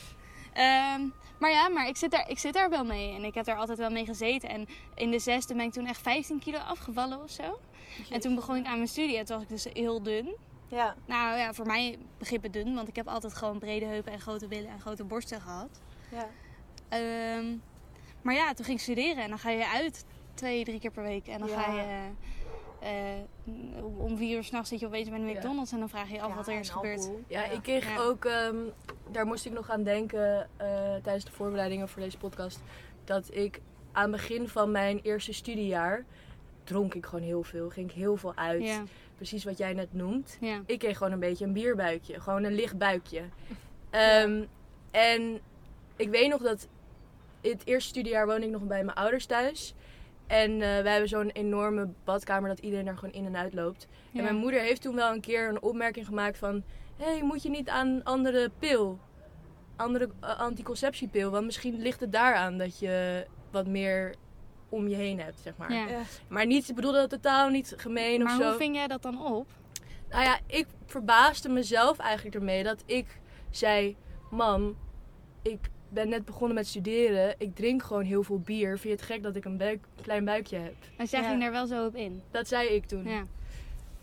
A: Ehm, maar ja, maar ik zit, daar, ik zit daar wel mee. En ik heb daar altijd wel mee gezeten. En in de zesde ben ik toen echt 15 kilo afgevallen of zo. En toen begon ik aan mijn studie. En toen was ik dus heel dun.
C: Ja,
A: Nou ja, voor mij begrippen dun. Want ik heb altijd gewoon brede heupen en grote billen en grote borsten gehad.
C: ja.
A: Ehm, maar ja, toen ging ik studeren. En dan ga je uit twee, drie keer per week. En dan
C: Ja.
A: ga je... eh, eh, om- om vier uur s'nachts zit je opeens bij de
B: Ja.
A: McDonald's. En dan vraag je je af
C: Ja,
A: wat er is
C: en
A: gebeurd.
C: alcohol.
B: Ja,
C: Ja.
B: ik kreeg
A: Ja.
B: ook, ehm, daar moest ik nog aan denken eh, tijdens de voorbereidingen voor deze podcast. Dat ik aan het begin van mijn eerste studiejaar dronk ik gewoon heel veel. Ging ik heel veel uit.
A: Ja,
B: Precies wat jij net noemt.
A: ja.
B: Ik kreeg gewoon een beetje een bierbuikje. Gewoon een licht buikje. Ehm, En ik weet nog dat... Het eerste studiejaar woonde ik nog bij mijn ouders thuis. En eh, wij hebben zo'n enorme badkamer dat iedereen daar gewoon in en uit loopt.
A: ja.
B: En mijn moeder heeft toen wel een keer een opmerking gemaakt van... Hé, hey, moet je niet aan andere pil? Andere eh, anticonceptiepil? Want misschien ligt het daaraan dat je wat meer om je heen hebt, zeg maar.
A: Ja.
C: Ja.
B: Maar niet, ze bedoelde dat totaal niet gemeen
A: Maar
B: of zo.
A: hoe ving jij dat dan op?
B: Nou ja, ik verbaasde mezelf eigenlijk ermee dat ik zei... Mam, ik ben net begonnen met studeren. Ik drink gewoon heel veel bier. Vind je het gek dat ik een buik- klein buikje heb?
A: En zij
C: Ja.
A: ging daar wel zo op in.
B: Dat zei ik toen.
A: Ja.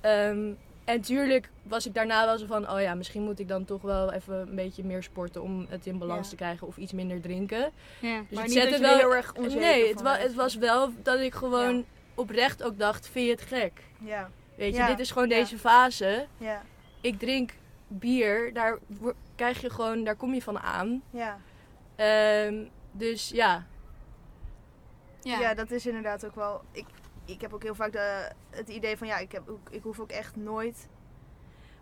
B: Ehm, en tuurlijk was ik daarna wel zo van, oh ja, misschien moet ik dan toch wel even een beetje meer sporten om het in balans
C: Ja.
B: te krijgen of iets minder drinken.
A: ja.
B: Dus het
C: maar niet dat
B: zette
C: je er heel erg onzeker
B: Nee, het,
C: van
B: wa-
C: werd.
B: het was wel dat ik gewoon oprecht ook dacht, vind je het gek?
C: Ja,
B: Weet je,
C: Ja.
B: dit is gewoon
C: Ja.
B: deze fase.
C: ja,
B: Ik drink bier, daar wo- krijg je gewoon, daar kom je van aan.
C: ja.
B: Ehm, dus ja,
C: Ja. dat is inderdaad ook wel... Ik, ik heb ook heel vaak de, het idee van, ja, ik, heb, ook- ik hoef ook echt nooit...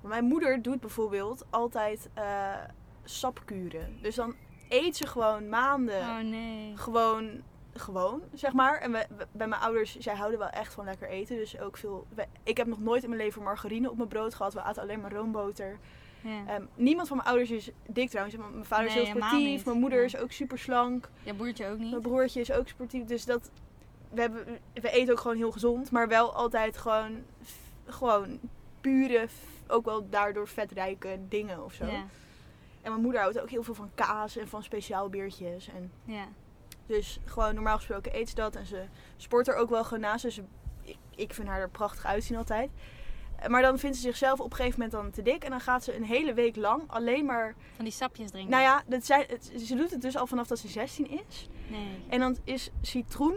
C: Maar Mijn moeder doet bijvoorbeeld altijd eh, sapkuren. Dus dan eet ze gewoon maanden
A: Oh nee.
C: gewoon, gewoon, zeg maar. En we, we- bij mijn ouders, zij houden wel echt van lekker eten. Dus ook veel... we- ik heb nog nooit in mijn leven margarine op mijn brood gehad. We aten alleen maar roomboter.
A: Ja.
C: Ehm, niemand van mijn ouders is dik trouwens. Mijn mijn vader
A: Nee,
C: is heel
A: helemaal
C: sportief.
A: niet.
C: Mijn moeder
A: Ja.
C: is ook super slank.
A: Ja, boertje ook
C: Mijn
A: niet.
C: broertje is ook sportief. Dus dat... We, hebben, we eten ook gewoon heel gezond. Maar wel altijd gewoon... Gewoon pure... Ook wel daardoor vetrijke dingen of zo.
A: Ja.
C: En mijn moeder houdt ook heel veel van kaas en van speciaal biertjes. En
A: Ja.
C: dus gewoon normaal gesproken eet ze dat. En ze sport er ook wel gewoon naast. Dus ze- ik, ik vind haar er prachtig uitzien altijd. Eh, Maar dan vindt ze zichzelf op een gegeven moment dan te dik. En dan gaat ze een hele week lang alleen maar...
A: Van die sapjes drinken.
C: Nou ja, dat zij, het- ze doet het dus al vanaf dat ze 16 is.
A: Nee.
C: En dan is citroen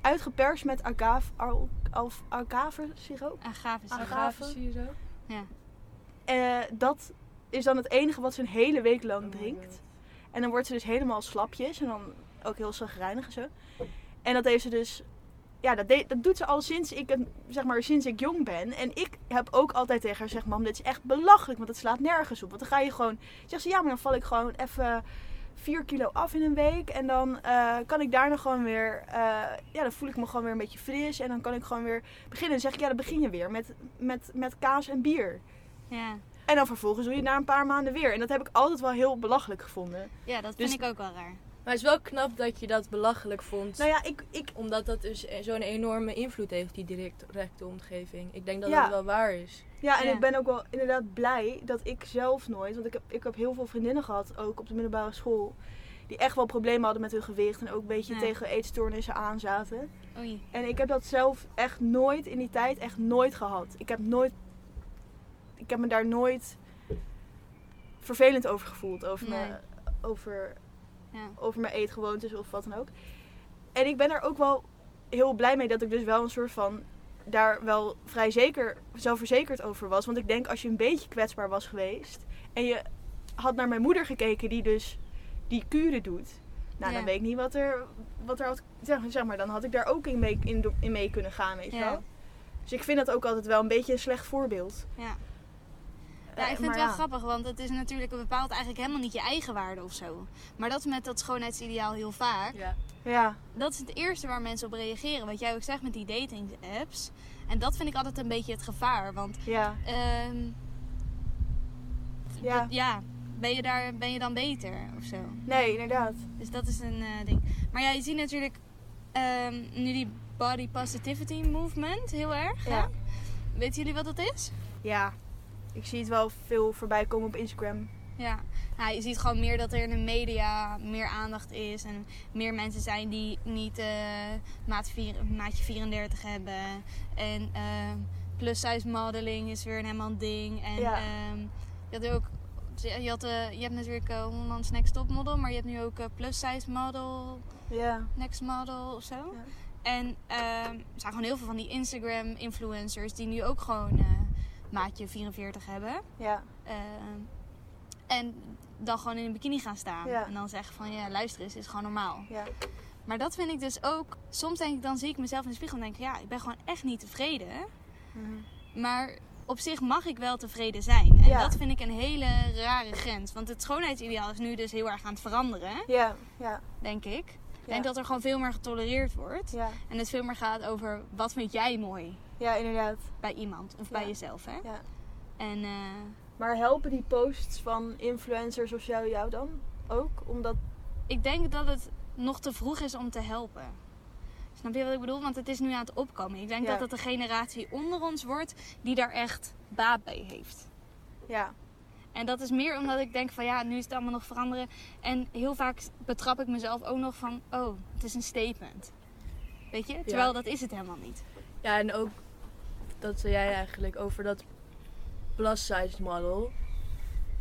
C: uitgeperst met agave, al- of agave siroop.
A: Agave sap.
C: Agave.
B: siroop.
A: Ja.
C: Eh, dat is dan het enige wat ze een hele week lang
B: Oh my
C: drinkt.
B: God.
C: En dan wordt ze dus helemaal slapjes en dan ook heel zagrijnig en zo. En dat heeft ze dus... Ja, dat, deed- dat doet ze al sinds ik, een- zeg maar, sinds ik jong ben. En ik heb ook altijd tegen haar gezegd... Mam, dit is echt belachelijk, want het slaat nergens op. Want dan ga je gewoon... Zegt ze, ja, maar dan val ik gewoon even 4 kilo af in een week. En dan eh, kan ik daarna gewoon weer... eh, ja, dan voel ik me gewoon weer een beetje fris. En dan kan ik gewoon weer beginnen. Dan zeg ik, ja, dan begin je weer met, met, met kaas en bier.
A: Ja.
C: En dan vervolgens doe je het na een paar maanden weer. En dat heb ik altijd wel heel belachelijk gevonden.
A: Ja, dat
B: Dus-
A: vind ik ook wel raar.
B: Maar het is wel knap dat je dat belachelijk vond.
C: Nou ja, ik, ik,
B: Omdat dat dus zo'n enorme invloed heeft, die direct, directe omgeving. Ik denk dat
C: Ja.
B: dat wel waar is.
C: ja, en
A: Ja.
C: ik ben ook wel inderdaad blij dat ik zelf nooit... Want ik heb, ik heb heel veel vriendinnen gehad, ook op de middelbare school... die echt wel problemen hadden met hun gewicht... en ook een beetje
A: Ja.
C: tegen eetstoornissen aanzaten.
A: Oei.
C: En ik heb dat zelf echt nooit in die tijd echt nooit gehad. Ik heb nooit... Ik heb me daar nooit vervelend over gevoeld. Over,
A: Nee.
C: mijn, over
A: Ja.
C: over mijn eetgewoontes of wat dan ook. En ik ben er ook wel heel blij mee dat ik dus wel een soort van daar wel vrij zeker, zelfverzekerd over was. Want ik denk als je een beetje kwetsbaar was geweest en je had naar mijn moeder gekeken die dus die kuren doet. Nou,
A: Ja.
C: dan weet ik niet wat er, wat er had, zeg, zeg maar, dan had ik daar ook in mee, in, do- in mee kunnen gaan, weet je
A: Ja.
C: wel. Dus ik vind dat ook altijd wel een beetje een slecht voorbeeld.
A: Ja.
C: Eh,
A: Ja, ik vind het
C: maar
A: wel
C: ja.
A: grappig, want het is natuurlijk het bepaalt eigenlijk helemaal niet je eigen waarde of zo. Maar dat is met dat schoonheidsideaal heel vaak.
B: Ja.
C: Ja,
A: Dat is het eerste waar mensen op reageren. Wat jij ook zegt met die dating apps. En dat vind ik altijd een beetje het gevaar. Want
C: ja,
A: ehm,
C: ja.
A: ja, ben je, daar, ben je dan beter of zo?
C: Nee, inderdaad.
A: Dus dat is een eh, ding. Maar ja, je ziet natuurlijk ehm, nu die body positivity movement heel erg. hè?
C: Ja.
A: Weten jullie wat dat is?
C: Ja, ik zie het wel veel voorbij komen op Instagram.
A: Ja. Nou, je ziet gewoon meer dat er in de media meer aandacht is. En meer mensen zijn die niet eh, maat vier- maatje 34 hebben. En ehm plus size modeling is weer een helemaal een ding. En
C: Ja.
A: ehm, je had ook... Je, had, eh, je hebt natuurlijk eh, Holland's Next Top Model. Maar je hebt nu ook eh, plus size model,
C: Ja,
A: next model of zo.
C: Ja.
A: En ehm, er zijn gewoon heel veel van die Instagram influencers die nu ook gewoon eh, maatje 44 hebben.
C: ja,
A: Ehm, en dan gewoon in een bikini gaan staan.
C: Ja.
A: En dan zeggen van ja, luister eens, is gewoon normaal.
C: ja.
A: Maar dat vind ik dus ook. Soms denk ik, dan zie ik mezelf in de spiegel en denk ik, ja, ik ben gewoon echt niet tevreden.
C: Mhm.
A: Maar op zich mag ik wel tevreden zijn. En
C: Ja.
A: dat vind ik een hele rare grens. Want het schoonheidsideaal is nu dus heel erg aan het veranderen,
C: Ja, ja,
A: denk ik. Ik
C: Ja.
A: denk dat er gewoon veel meer getolereerd wordt.
C: ja.
A: En het veel meer gaat over wat vind jij mooi
C: Ja, inderdaad.
A: bij iemand of bij
C: Ja.
A: jezelf. Hè?
C: Ja.
A: En eh,
C: Maar helpen die posts van influencers of jou, jou dan ook? Omdat,
A: ik denk dat het nog te vroeg is om te helpen. Snap je wat ik bedoel? Want het is nu aan het opkomen. Ik denk
C: Ja.
A: dat het de generatie onder ons wordt die daar echt baat bij heeft.
C: ja,
A: En dat is meer omdat ik denk van ja, nu is het allemaal nog veranderen. En heel vaak betrap ik mezelf ook nog van oh, het is een statement. Weet je? Terwijl dat is het helemaal niet.
B: Ja, en ook dat zei jij eigenlijk over dat plus size model.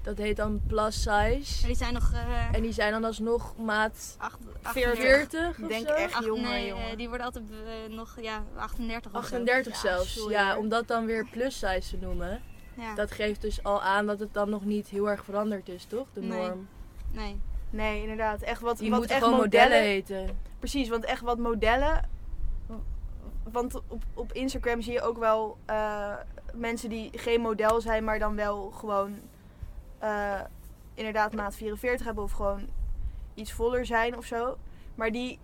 B: Dat heet dan plus
A: Maar
B: size.
A: die zijn nog eh
B: En die zijn dan alsnog maat
A: acht,
C: 40.
B: 40
C: ik
B: of
C: denk
B: zo.
C: echt
A: Ach,
C: jonger,
A: nee, eh,
C: jongen.
A: die worden altijd eh, nog ja, 38 of zo.
B: 38
C: Ja,
B: zelfs.
C: sorry.
B: Ja, om dat dan weer plus size te noemen.
A: Ja,
B: Dat geeft dus al aan dat het dan nog niet heel erg veranderd is, toch? De
A: Nee.
B: norm.
A: nee.
C: Nee, inderdaad. Echt wat,
B: Die
C: wat
B: moeten
C: echt
B: gewoon modellen, heten.
C: Precies, want echt wat modellen. Want op, op Instagram zie je ook wel eh, mensen die geen model zijn, maar dan wel gewoon eh, inderdaad maat 44 hebben of gewoon iets voller zijn of zo. Maar die,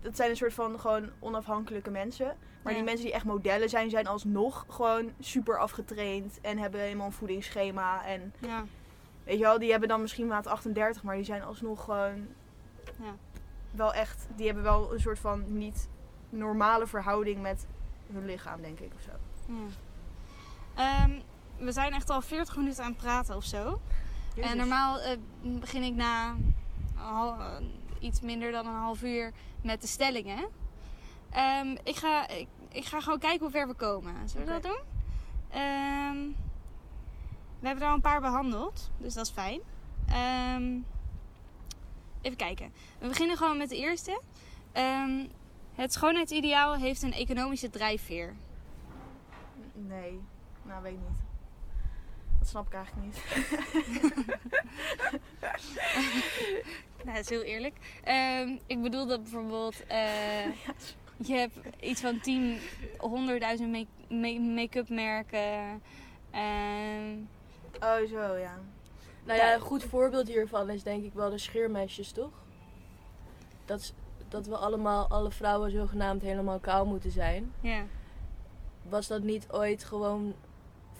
C: dat zijn een soort van gewoon onafhankelijke mensen. Maar
A: Ja.
C: die mensen die echt modellen zijn, zijn alsnog gewoon super afgetraind en hebben helemaal een voedingsschema. En
A: Ja.
C: weet je wel, die hebben dan misschien maat 38, maar die zijn alsnog gewoon
A: Ja.
C: wel echt, die hebben wel een soort van niet normale verhouding met hun lichaam, denk ik of zo.
A: Ja. Ehm, we zijn echt al 40 minuten aan het praten of zo. En normaal eh, begin ik na een hal- eh, iets minder dan een half uur met de stellingen. Ehm, ik, ga, ik, ik ga gewoon kijken hoe ver we komen. Zullen we dat doen? Ehm, we hebben er al een paar behandeld, dus dat is fijn. Ehm, even kijken. We beginnen gewoon met de eerste. Ehm, het schoonheidsideaal heeft een economische drijfveer.
C: Nee, nou weet ik niet. Dat snap ik eigenlijk niet.
A: Nou, dat is heel eerlijk. Ehm, ik bedoel dat bijvoorbeeld... eh, je hebt iets van 10, 100.000 make- make- make-up merken. Ehm,
C: Oh zo, ja.
B: Nou ja, een goed voorbeeld hiervan is denk ik wel de scheermesjes, toch? Dat, is- dat we allemaal, alle vrouwen zogenaamd helemaal kaal moeten zijn.
A: ja.
B: Was dat niet ooit gewoon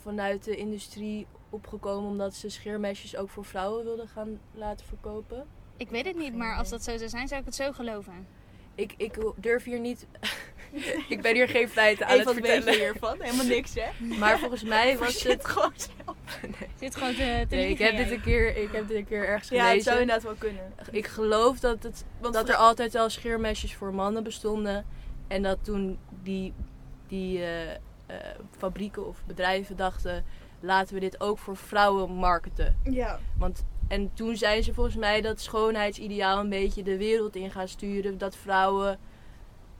B: vanuit de industrie opgekomen omdat ze scheermesjes ook voor vrouwen wilden gaan laten verkopen?
A: Ik weet het niet, maar als dat zo zou zijn, zou ik het zo geloven.
B: Ik, ik durf hier niet... ik ben hier geen feiten aan
C: Even
B: het
C: een beetje
B: vertellen.
C: hiervan, helemaal niks hè.
B: Maar volgens mij was het...
C: Zit gewoon zelf.
A: Ik Zit gewoon te, te
B: Nee, ik
A: liegen,
B: heb dit
A: jij.
B: een keer, ik heb dit een keer ergens
C: Ja, het
B: gelezen.
C: zou inderdaad wel kunnen.
B: Ik geloof dat, het,
C: Want
B: dat
C: vrou-
B: er altijd al scheermesjes voor mannen bestonden. En dat toen die, die eh, eh, fabrieken of bedrijven dachten... laten we dit ook voor vrouwen marketen.
C: Ja.
B: Want, en toen zijn ze volgens mij dat schoonheidsideaal een beetje de wereld in gaan sturen. Dat vrouwen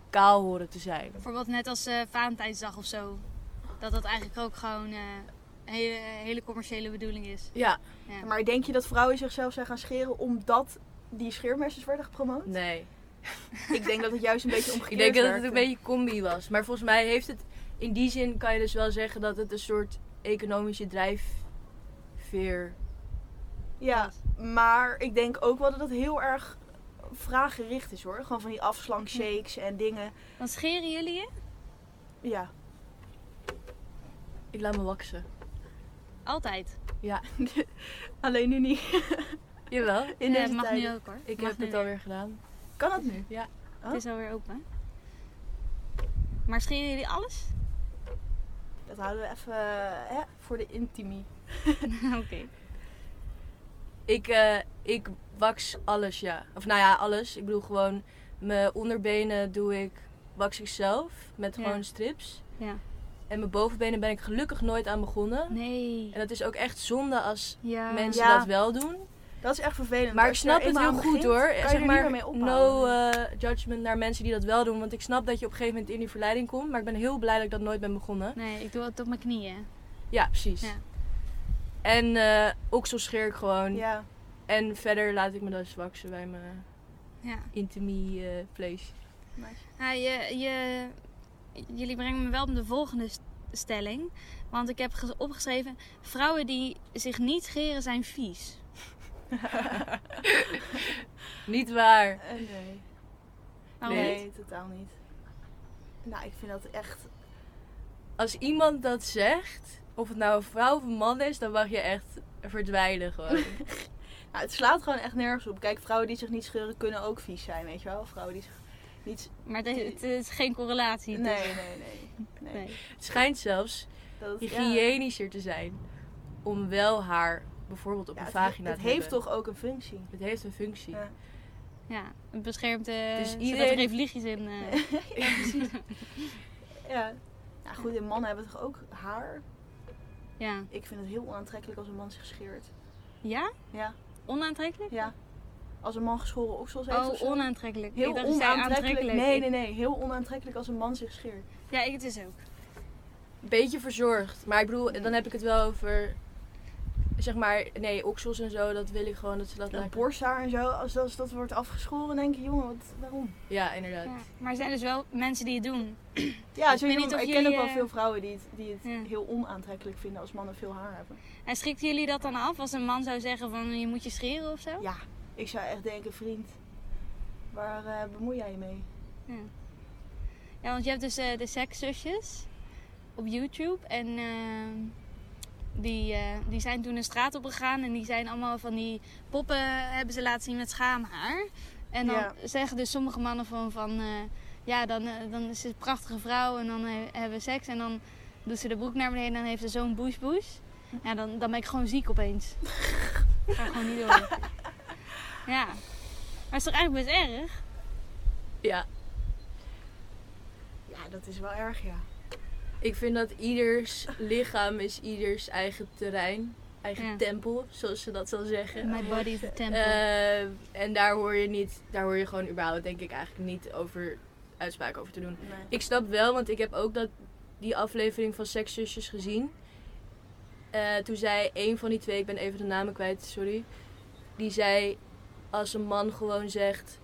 B: kaal horen te zijn.
A: Bijvoorbeeld net als eh Valentijnsdag of zo. Dat dat eigenlijk ook gewoon eh, een hele, hele commerciële bedoeling is.
B: Ja.
A: Ja.
C: Maar denk je dat vrouwen zichzelf zijn gaan scheren omdat die scheermesters werden gepromoot?
B: Nee.
C: Ik denk dat het juist een beetje
B: Ik
C: omgekeerd
B: denk dat het
C: werkte.
B: een beetje combi was. Maar volgens mij heeft het... In die zin kan je dus wel zeggen dat het een soort economische drijfveer...
C: Ja, maar ik denk ook wel dat het heel erg vraaggericht is hoor. Gewoon van die afslankshakes en dingen.
A: Dan scheren jullie je?
C: Ja.
B: Ik laat me waksen.
A: Altijd.
C: Alleen nu niet.
B: Jawel.
C: In
A: Ja,
C: deze
A: mag
C: tijden.
A: nu ook hoor.
B: Ik
A: Mag
B: heb
A: nu
B: het alweer gedaan.
C: Kan dat nu?
A: weer. Het is alweer open. Maar scheren jullie alles?
C: Dat houden we even eh, hè, voor de intimie.
A: Oké.
B: Ik, eh, ik wax alles, ja. Of nou ja, alles. Ik bedoel gewoon... Mijn onderbenen doe ik... Wax ik zelf. Met
A: Ja.
B: gewoon strips.
A: Ja.
B: En mijn bovenbenen ben ik gelukkig nooit aan begonnen.
A: Nee.
B: En dat is ook echt zonde als
A: Ja.
B: mensen
C: Ah, Ja.
B: dat wel doen.
C: Dat is echt vervelend.
B: Maar ik
C: Als je er
B: snap het
C: eenmaal
B: heel
C: aan
B: goed
C: begint,
B: hoor.
C: Kan je
B: zeg
C: er niet
B: maar,
C: meer mee ophouden.
B: no eh, judgment naar mensen die dat wel doen. Want ik snap dat je op een gegeven moment in die verleiding komt. Maar ik ben heel blij dat ik dat nooit ben begonnen.
A: Nee, ik doe het op mijn knieën.
B: Ja, precies.
A: Ja.
B: En eh oksel scheer ik gewoon.
C: Ja.
B: En verder laat ik me dus waksen bij mijn
A: Ja.
B: intimie eh vlees.
A: Ja, je, je, jullie brengen me wel op de volgende st- stelling. Want ik heb ge- opgeschreven: vrouwen die zich niet scheren zijn vies.
B: Niet waar.
C: Eh, nee.
A: Waarom
C: nee,
A: niet?
C: totaal niet. Nou, ik vind dat echt...
B: Als iemand dat zegt, of het nou een vrouw of een man is, dan mag je echt verdwijnen gewoon.
C: Nou, het slaat gewoon echt nergens op. Kijk, vrouwen die zich niet scheuren kunnen ook vies zijn, weet je wel. Vrouwen die zich niet...
A: Maar het, het is geen correlatie.
C: Nee,
A: tussen-
B: dus-
C: nee, nee. nee.
A: Nee.
B: het schijnt zelfs
C: Dat, ja.
B: hygiënischer te zijn om wel haar bijvoorbeeld op
C: Ja,
B: een
C: het,
B: vagina
C: het
B: te
C: heeft
B: hebben.
C: toch ook een functie.
B: Het heeft een functie.
C: Ja.
A: Ja, het beschermt. eh
B: Dus
A: zodat
B: iedereen-
A: er geen vliegjes in. eh,
C: ja, precies. ja. Nou goed, en mannen hebben toch ook haar?
A: ja.
C: Ik vind het heel onaantrekkelijk als een man zich scheert.
A: Ja?
C: Ja,
A: Onaantrekkelijk?
C: ja. Als een man geschoren oksels heeft of
A: Oh,
C: zo.
A: onaantrekkelijk.
C: Heel
A: ik dacht, je zei
C: onaantrekkelijk.
A: aantrekkelijk.
C: Nee, nee, nee. Heel onaantrekkelijk als een man zich scheert.
A: Ja, ik het is ook.
B: Beetje verzorgd. Maar ik bedoel, dan heb ik het wel over. Zeg maar, nee, oksels en zo, dat wil ik gewoon dat ze dat
C: Dat
B: laten.
C: borsthaar en zo, als dat, als dat wordt afgeschoren, denk je, jongen, wat, waarom?
B: Ja, inderdaad.
A: Ja. Maar er zijn dus wel mensen die het doen.
C: Ja,
A: Ik weet
C: sowieso,
A: niet
C: maar
A: of
C: ik ken ook
A: jullie,
C: wel
A: eh,
C: veel vrouwen die het, die het
A: Ja.
C: heel onaantrekkelijk vinden als mannen veel haar hebben.
A: En schrikken jullie dat dan af als een man zou zeggen: van je moet je scheren of zo?
C: Ja, ik zou echt denken, vriend, waar eh, bemoei jij je mee?
A: Ja, want je hebt dus eh, de sekszusjes op YouTube. En ehm, die, eh, die zijn toen een straat op gegaan. En die zijn allemaal van die poppen hebben ze laten zien met schaamhaar. En dan
C: Ja.
A: zeggen dus sommige mannen van... van eh, ja, dan, eh, dan is ze een prachtige vrouw en dan eh, hebben we seks. En dan doet ze de broek naar beneden en dan heeft ze zo'n bush-bush. Ja, dan, dan ben ik gewoon ziek opeens. Ga ik gewoon niet door. Ja. Maar is toch eigenlijk best erg?
B: Ja,
C: Ja, dat is wel erg, ja.
B: ik vind dat ieders lichaam is ieders eigen terrein. Eigen
A: Ja.
B: tempel, zoals ze dat zal zeggen.
A: My body is a temple.
B: Eh, en daar hoor je niet, daar hoor je gewoon überhaupt denk ik eigenlijk niet over uitspraken over te doen.
C: Nee.
B: Ik snap wel, want ik heb ook dat, die aflevering van Sekszusjes gezien. Eh, toen zei een van die twee, ik ben even de namen kwijt, sorry. Die zei, als een man gewoon zegt...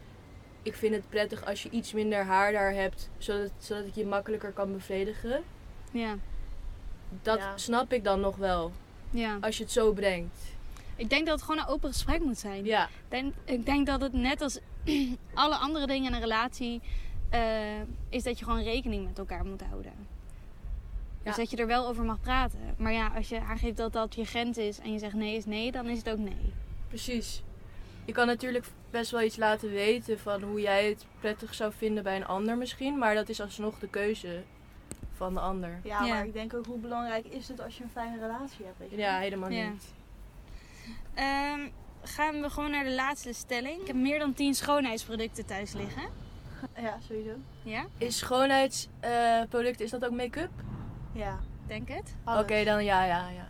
B: Ik vind het prettig als je iets minder haar daar hebt, zodat, zodat ik je makkelijker kan bevredigen.
A: Ja,
B: Dat
C: Ja.
B: snap ik dan nog wel,
A: ja.
B: als je het zo brengt.
A: Ik denk dat het gewoon een open gesprek moet zijn.
B: Ja,
A: Ik, denk, ik denk dat het net als alle andere dingen in een relatie eh, is dat je gewoon rekening met elkaar moet houden. Dus
B: Ja.
A: dat je er wel over mag praten. Maar ja, als je aangeeft dat dat je grens is en je zegt nee is nee, dan is het ook nee.
B: precies. Je kan natuurlijk best wel iets laten weten van hoe jij het prettig zou vinden bij een ander misschien. Maar dat is alsnog de keuze van de ander.
C: Ja,
A: Ja.
C: maar ik denk ook, hoe belangrijk is het als je een fijne relatie hebt, weet je
B: Ja,
C: wel?
B: helemaal
A: Ja.
B: niet.
A: Ehm, gaan we gewoon naar de laatste stelling. Ik heb meer dan 10 schoonheidsproducten thuis liggen.
C: Ja, sowieso.
A: Ja,
B: Is schoonheidsproduct, is dat ook make-up?
C: Ja.
A: denk het.
B: Oké,
C: alles.
B: dan ja, ja, ja.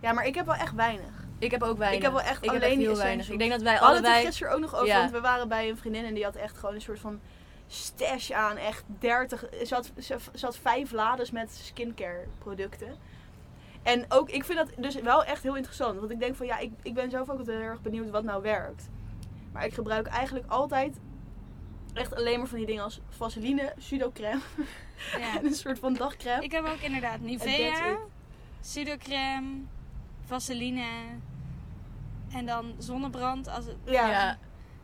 C: Ja, maar ik heb wel echt weinig.
B: Ik heb ook weinig.
C: Ik heb wel echt
B: ik heb
C: alleen
B: echt
C: die
B: heel weinig.
C: essentials.
B: Ik denk dat wij
C: We hadden het er
B: allebei...
C: gisteren ook nog over,
B: Ja.
C: want we waren bij een vriendin en die had echt gewoon een soort van stash aan. Echt 30. Ze had, ze, ze had vijf lades met skincare producten. En ook, ik vind dat dus wel echt heel interessant. Want ik denk van ja, ik, ik ben zelf ook altijd heel erg benieuwd wat nou werkt. Maar ik gebruik eigenlijk altijd echt alleen maar van die dingen als vaseline, sudocrème
A: Ja.
C: en een soort van dagcrème.
A: Ik heb ook inderdaad
C: that's
A: Nivea, pseudocreme, vaseline en dan zonnebrand. Als het,
C: Ja.
B: ja,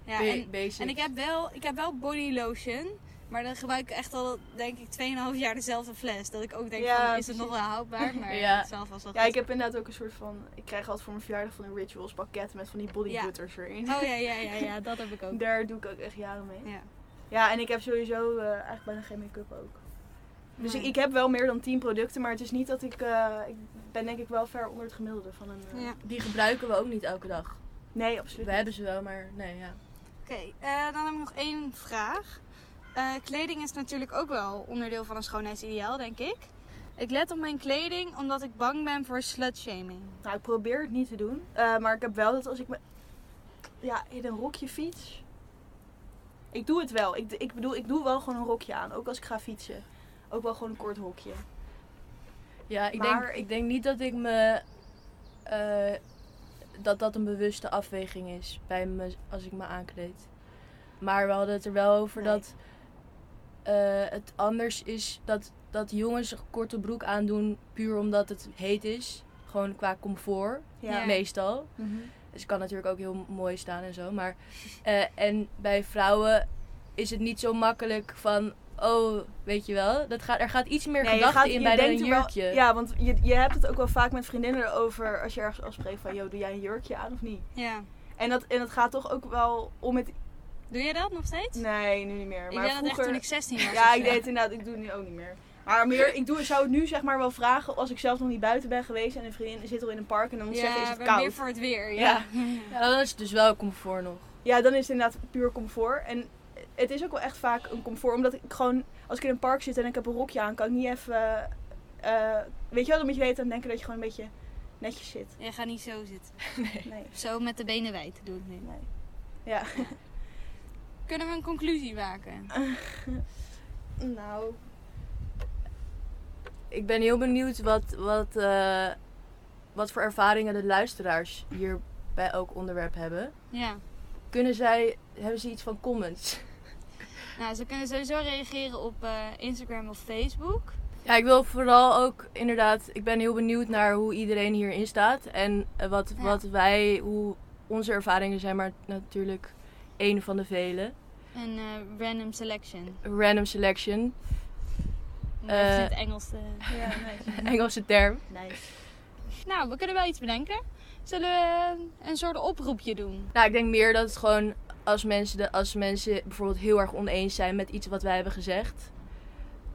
A: ja,
B: ba-
A: en,
B: basics.
A: en ik heb wel, ik heb wel body lotion, maar dan gebruik ik echt al denk ik 2,5 jaar dezelfde fles. Dat ik ook denk
C: Ja,
A: van, is het
C: precies.
A: nog wel houdbaar? Maar
B: Ja.
A: het zal vast wel
C: Ja,
A: goed
C: ik heb inderdaad ook een soort van. Ik krijg altijd voor mijn verjaardag van een rituals pakket met van die body
A: Ja.
C: butters erin.
A: Oh ja, ja, ja, ja, dat heb ik ook.
C: Daar doe ik ook echt jaren mee.
A: Ja.
C: Ja, en ik heb sowieso eh, eigenlijk bijna geen make-up ook. Dus
A: Nee.
C: ik, ik heb wel meer dan 10 producten, maar het is niet dat ik. eh, ik ben denk ik wel ver onder het gemiddelde van een. eh,
A: Ja.
B: Die gebruiken we ook niet elke dag.
C: Nee, absoluut.
B: We
C: niet.
B: hebben ze wel, maar nee, ja.
A: Oké, eh, dan heb ik nog één vraag. Eh, kleding is natuurlijk ook wel onderdeel van een schoonheidsideaal, denk ik. Ik let op mijn kleding omdat ik bang ben voor slutshaming.
C: Nou, ik probeer het niet te doen. eh, maar ik heb wel dat als ik me, ja, in een rokje fiets. Ik doe het wel. Ik, ik bedoel, ik doe wel gewoon een rokje aan. Ook als ik ga fietsen. Ook wel gewoon een kort rokje.
B: Ja, ik,
C: Maar
B: denk,
C: ik-
B: ik denk niet dat ik me. eh, dat dat een bewuste afweging is bij me, als ik me aankleed. Maar we hadden het er wel over
C: Nee.
B: dat eh, het anders is dat, dat jongens een korte broek aandoen puur omdat het heet is. Gewoon qua comfort,
A: Ja.
B: meestal.
C: Mhm.
B: Dus het kan natuurlijk ook heel mooi staan en zo. Maar, eh, en bij vrouwen is het niet zo makkelijk van... Oh, weet je wel, dat gaat, er gaat iets meer
C: Nee, je
B: gedachte
C: gaat-
B: in
C: je
B: bij dan
C: denkt
B: een
C: er wel-
B: jurkje.
C: ja, want je, je hebt het ook wel vaak met vriendinnen erover als je ergens afspreekt van, joh, doe jij een jurkje aan of niet?
A: Ja.
C: En dat, en dat gaat toch ook wel om het...
A: Doe jij dat nog steeds?
C: Nee, nu niet meer.
A: ik deed
C: Maar
A: dat echt
C: vroeger...
A: toen ik 16 was. of
C: Ja,
A: zo.
C: ik deed het inderdaad. Ik doe het nu ook niet meer. Maar meer, ik doe, zou het nu zeg maar wel vragen als ik zelf nog niet buiten ben geweest en een vriendin zit al in een park en dan moet ik
A: Ja,
C: zeggen, is het
A: maar
C: koud?
A: meer voor het weer.
C: Ja.
A: Ja.
B: Ja, dan is het dus wel comfort nog.
C: Ja, dan is het inderdaad puur comfort. En het is ook wel echt vaak een comfort. Omdat ik gewoon, als ik in een park zit en ik heb een rokje aan, kan ik niet even. eh, weet je wel, dan moet je weten aan denken dat je gewoon een beetje netjes zit.
A: Je gaat niet zo zitten.
C: Nee.
A: Zo met de benen wijd doen. Nee.
C: nee. Ja.
A: Kunnen we een conclusie maken?
C: Nou.
B: Ik ben heel benieuwd wat, wat, eh, wat voor ervaringen de luisteraars hier bij elk onderwerp hebben.
A: Ja.
B: Kunnen zij, hebben ze iets van comments?
A: Nou, ze kunnen sowieso reageren op eh, Instagram of Facebook.
B: Ja, ik wil vooral ook inderdaad, ik ben heel benieuwd naar hoe iedereen hierin staat. En eh, wat,
A: Ja.
B: wat wij, hoe onze ervaringen zijn, maar natuurlijk één van de vele.
A: Een eh, random selection.
B: Random selection,
A: Om even
B: Eh.
A: het Engels te...
C: Ja, nice.
B: Engelse term.
C: nice.
A: Nou, we kunnen wel iets bedenken. Zullen we eh, een soort oproepje doen?
B: Nou, ik denk meer dat het gewoon als mensen, de, als mensen bijvoorbeeld heel erg oneens zijn met iets wat wij hebben gezegd.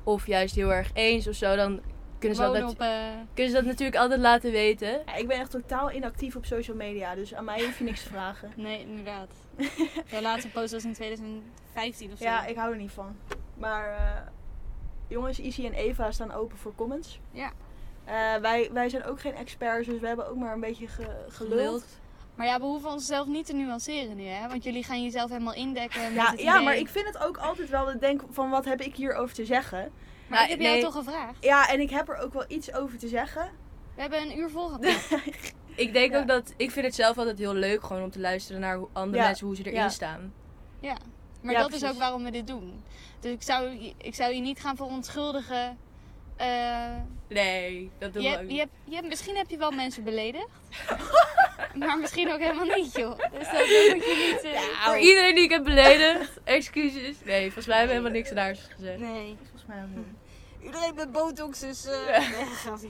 B: Of juist heel erg eens of zo, dan kunnen ze, dat,
A: Wonen
B: natu-
A: op... eh,
B: kunnen ze dat natuurlijk altijd laten weten.
C: Ja, ik ben echt totaal inactief op social media, dus aan mij hoef je niks te vragen.
A: Nee, inderdaad. De laatste post was in 2015 of zo.
C: Ja, ik hou er niet van. Maar eh, jongens, Izzy en Eva staan open voor comments.
A: Ja.
C: Eh, wij, wij zijn ook geen experts, dus we hebben ook maar een beetje ge, geluld.
A: Maar ja, we hoeven onszelf niet te nuanceren nu, hè? Want jullie gaan jezelf helemaal indekken met
C: Ja,
A: het
C: ja,
A: idee.
C: maar ik vind het ook altijd wel dat ik denk van wat heb ik hierover te zeggen.
A: Maar ik
B: Nou,
A: heb
B: nee.
A: jou toch gevraagd?
C: Ja, en ik heb er ook wel iets over te zeggen.
A: We hebben een uur vol gehad.
B: Ik denk
C: Ja.
B: ook dat, ik vind het zelf altijd heel leuk gewoon om te luisteren naar hoe andere
C: Ja.
B: mensen, hoe ze erin
C: Ja.
B: staan.
A: Ja. Maar
C: Ja,
A: dat is
C: precies.
A: ook waarom we dit doen. Dus ik zou, je- ik zou je niet gaan verontschuldigen. Eh,
B: Nee, dat doen
A: je,
B: we ook
A: hebt-
B: niet.
A: je, hebt- je, hebt- misschien heb je wel mensen beledigd. maar misschien ook helemaal niet, joh. Dus dat moet je niet... eh,
B: Voor iedereen die ik heb beledigd, excuses. Nee, volgens mij hebben we helemaal niks naars gezegd.
A: Nee.
C: Volgens mij ook niet.
A: Iedereen met botox, dus... eh,
B: Ja.
A: nee, grapje.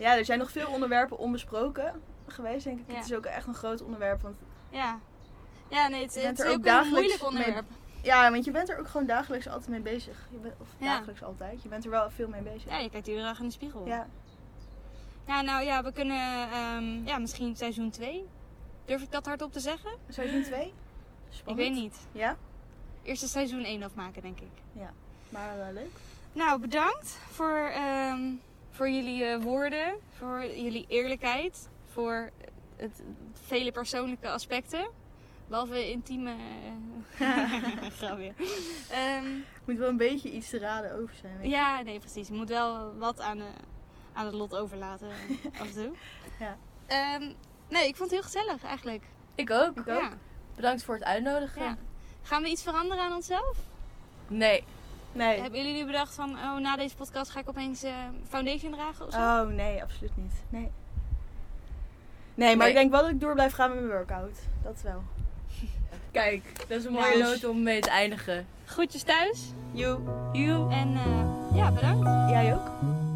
C: Ja, er zijn nog veel onderwerpen onbesproken geweest, denk ik.
A: Ja.
C: Het is ook echt een groot onderwerp. Want,
A: Ja. Ja, nee, het,
C: Je bent
A: het is
C: er ook
A: ook een
C: dagelijks
A: moeilijk
C: mee-
A: onderwerp.
C: ja, want je bent er ook gewoon dagelijks altijd mee bezig. Je bent, of
A: Ja.
C: dagelijks altijd. Je bent er wel veel mee bezig.
A: Ja, je kijkt iedere dag in de spiegel.
C: ja.
A: Ja, nou ja, we kunnen ehm, ja, misschien seizoen 2. Durf ik dat hardop te zeggen?
C: Seizoen 2?
A: Ik weet niet.
C: Ja,
A: Eerst het seizoen 1 afmaken, denk ik.
C: maar wel leuk.
A: Nou, bedankt voor, ehm, voor jullie eh, woorden, voor jullie eerlijkheid, voor het vele persoonlijke aspecten. Behalve intieme... eh, Grapje. Ehm
C: Moet wel een beetje iets te raden over zijn. weet je.
A: ja, nee, precies. Je moet wel wat aan, eh, aan het lot overlaten eh, af en toe.
C: Ja.
A: Ehm, nee, ik vond het heel gezellig eigenlijk.
B: Ik ook.
C: Ik ook.
A: Ja,
B: Bedankt voor het uitnodigen.
A: ja. Gaan we iets veranderen aan onszelf?
B: Nee.
C: Nee.
A: Hebben jullie nu bedacht van, oh, na deze podcast ga ik opeens eh, foundation dragen of zo?
C: Oh nee, absoluut niet. Nee. Nee, maar
B: Nee.
C: ik denk wel dat ik door blijf gaan met mijn workout. Dat wel.
B: Kijk, dat is een mooie
A: Ja.
B: noot om mee te eindigen.
A: Groetjes thuis.
C: You.
A: En eh, ja, bedankt.
C: Jij ook?
A: Doei.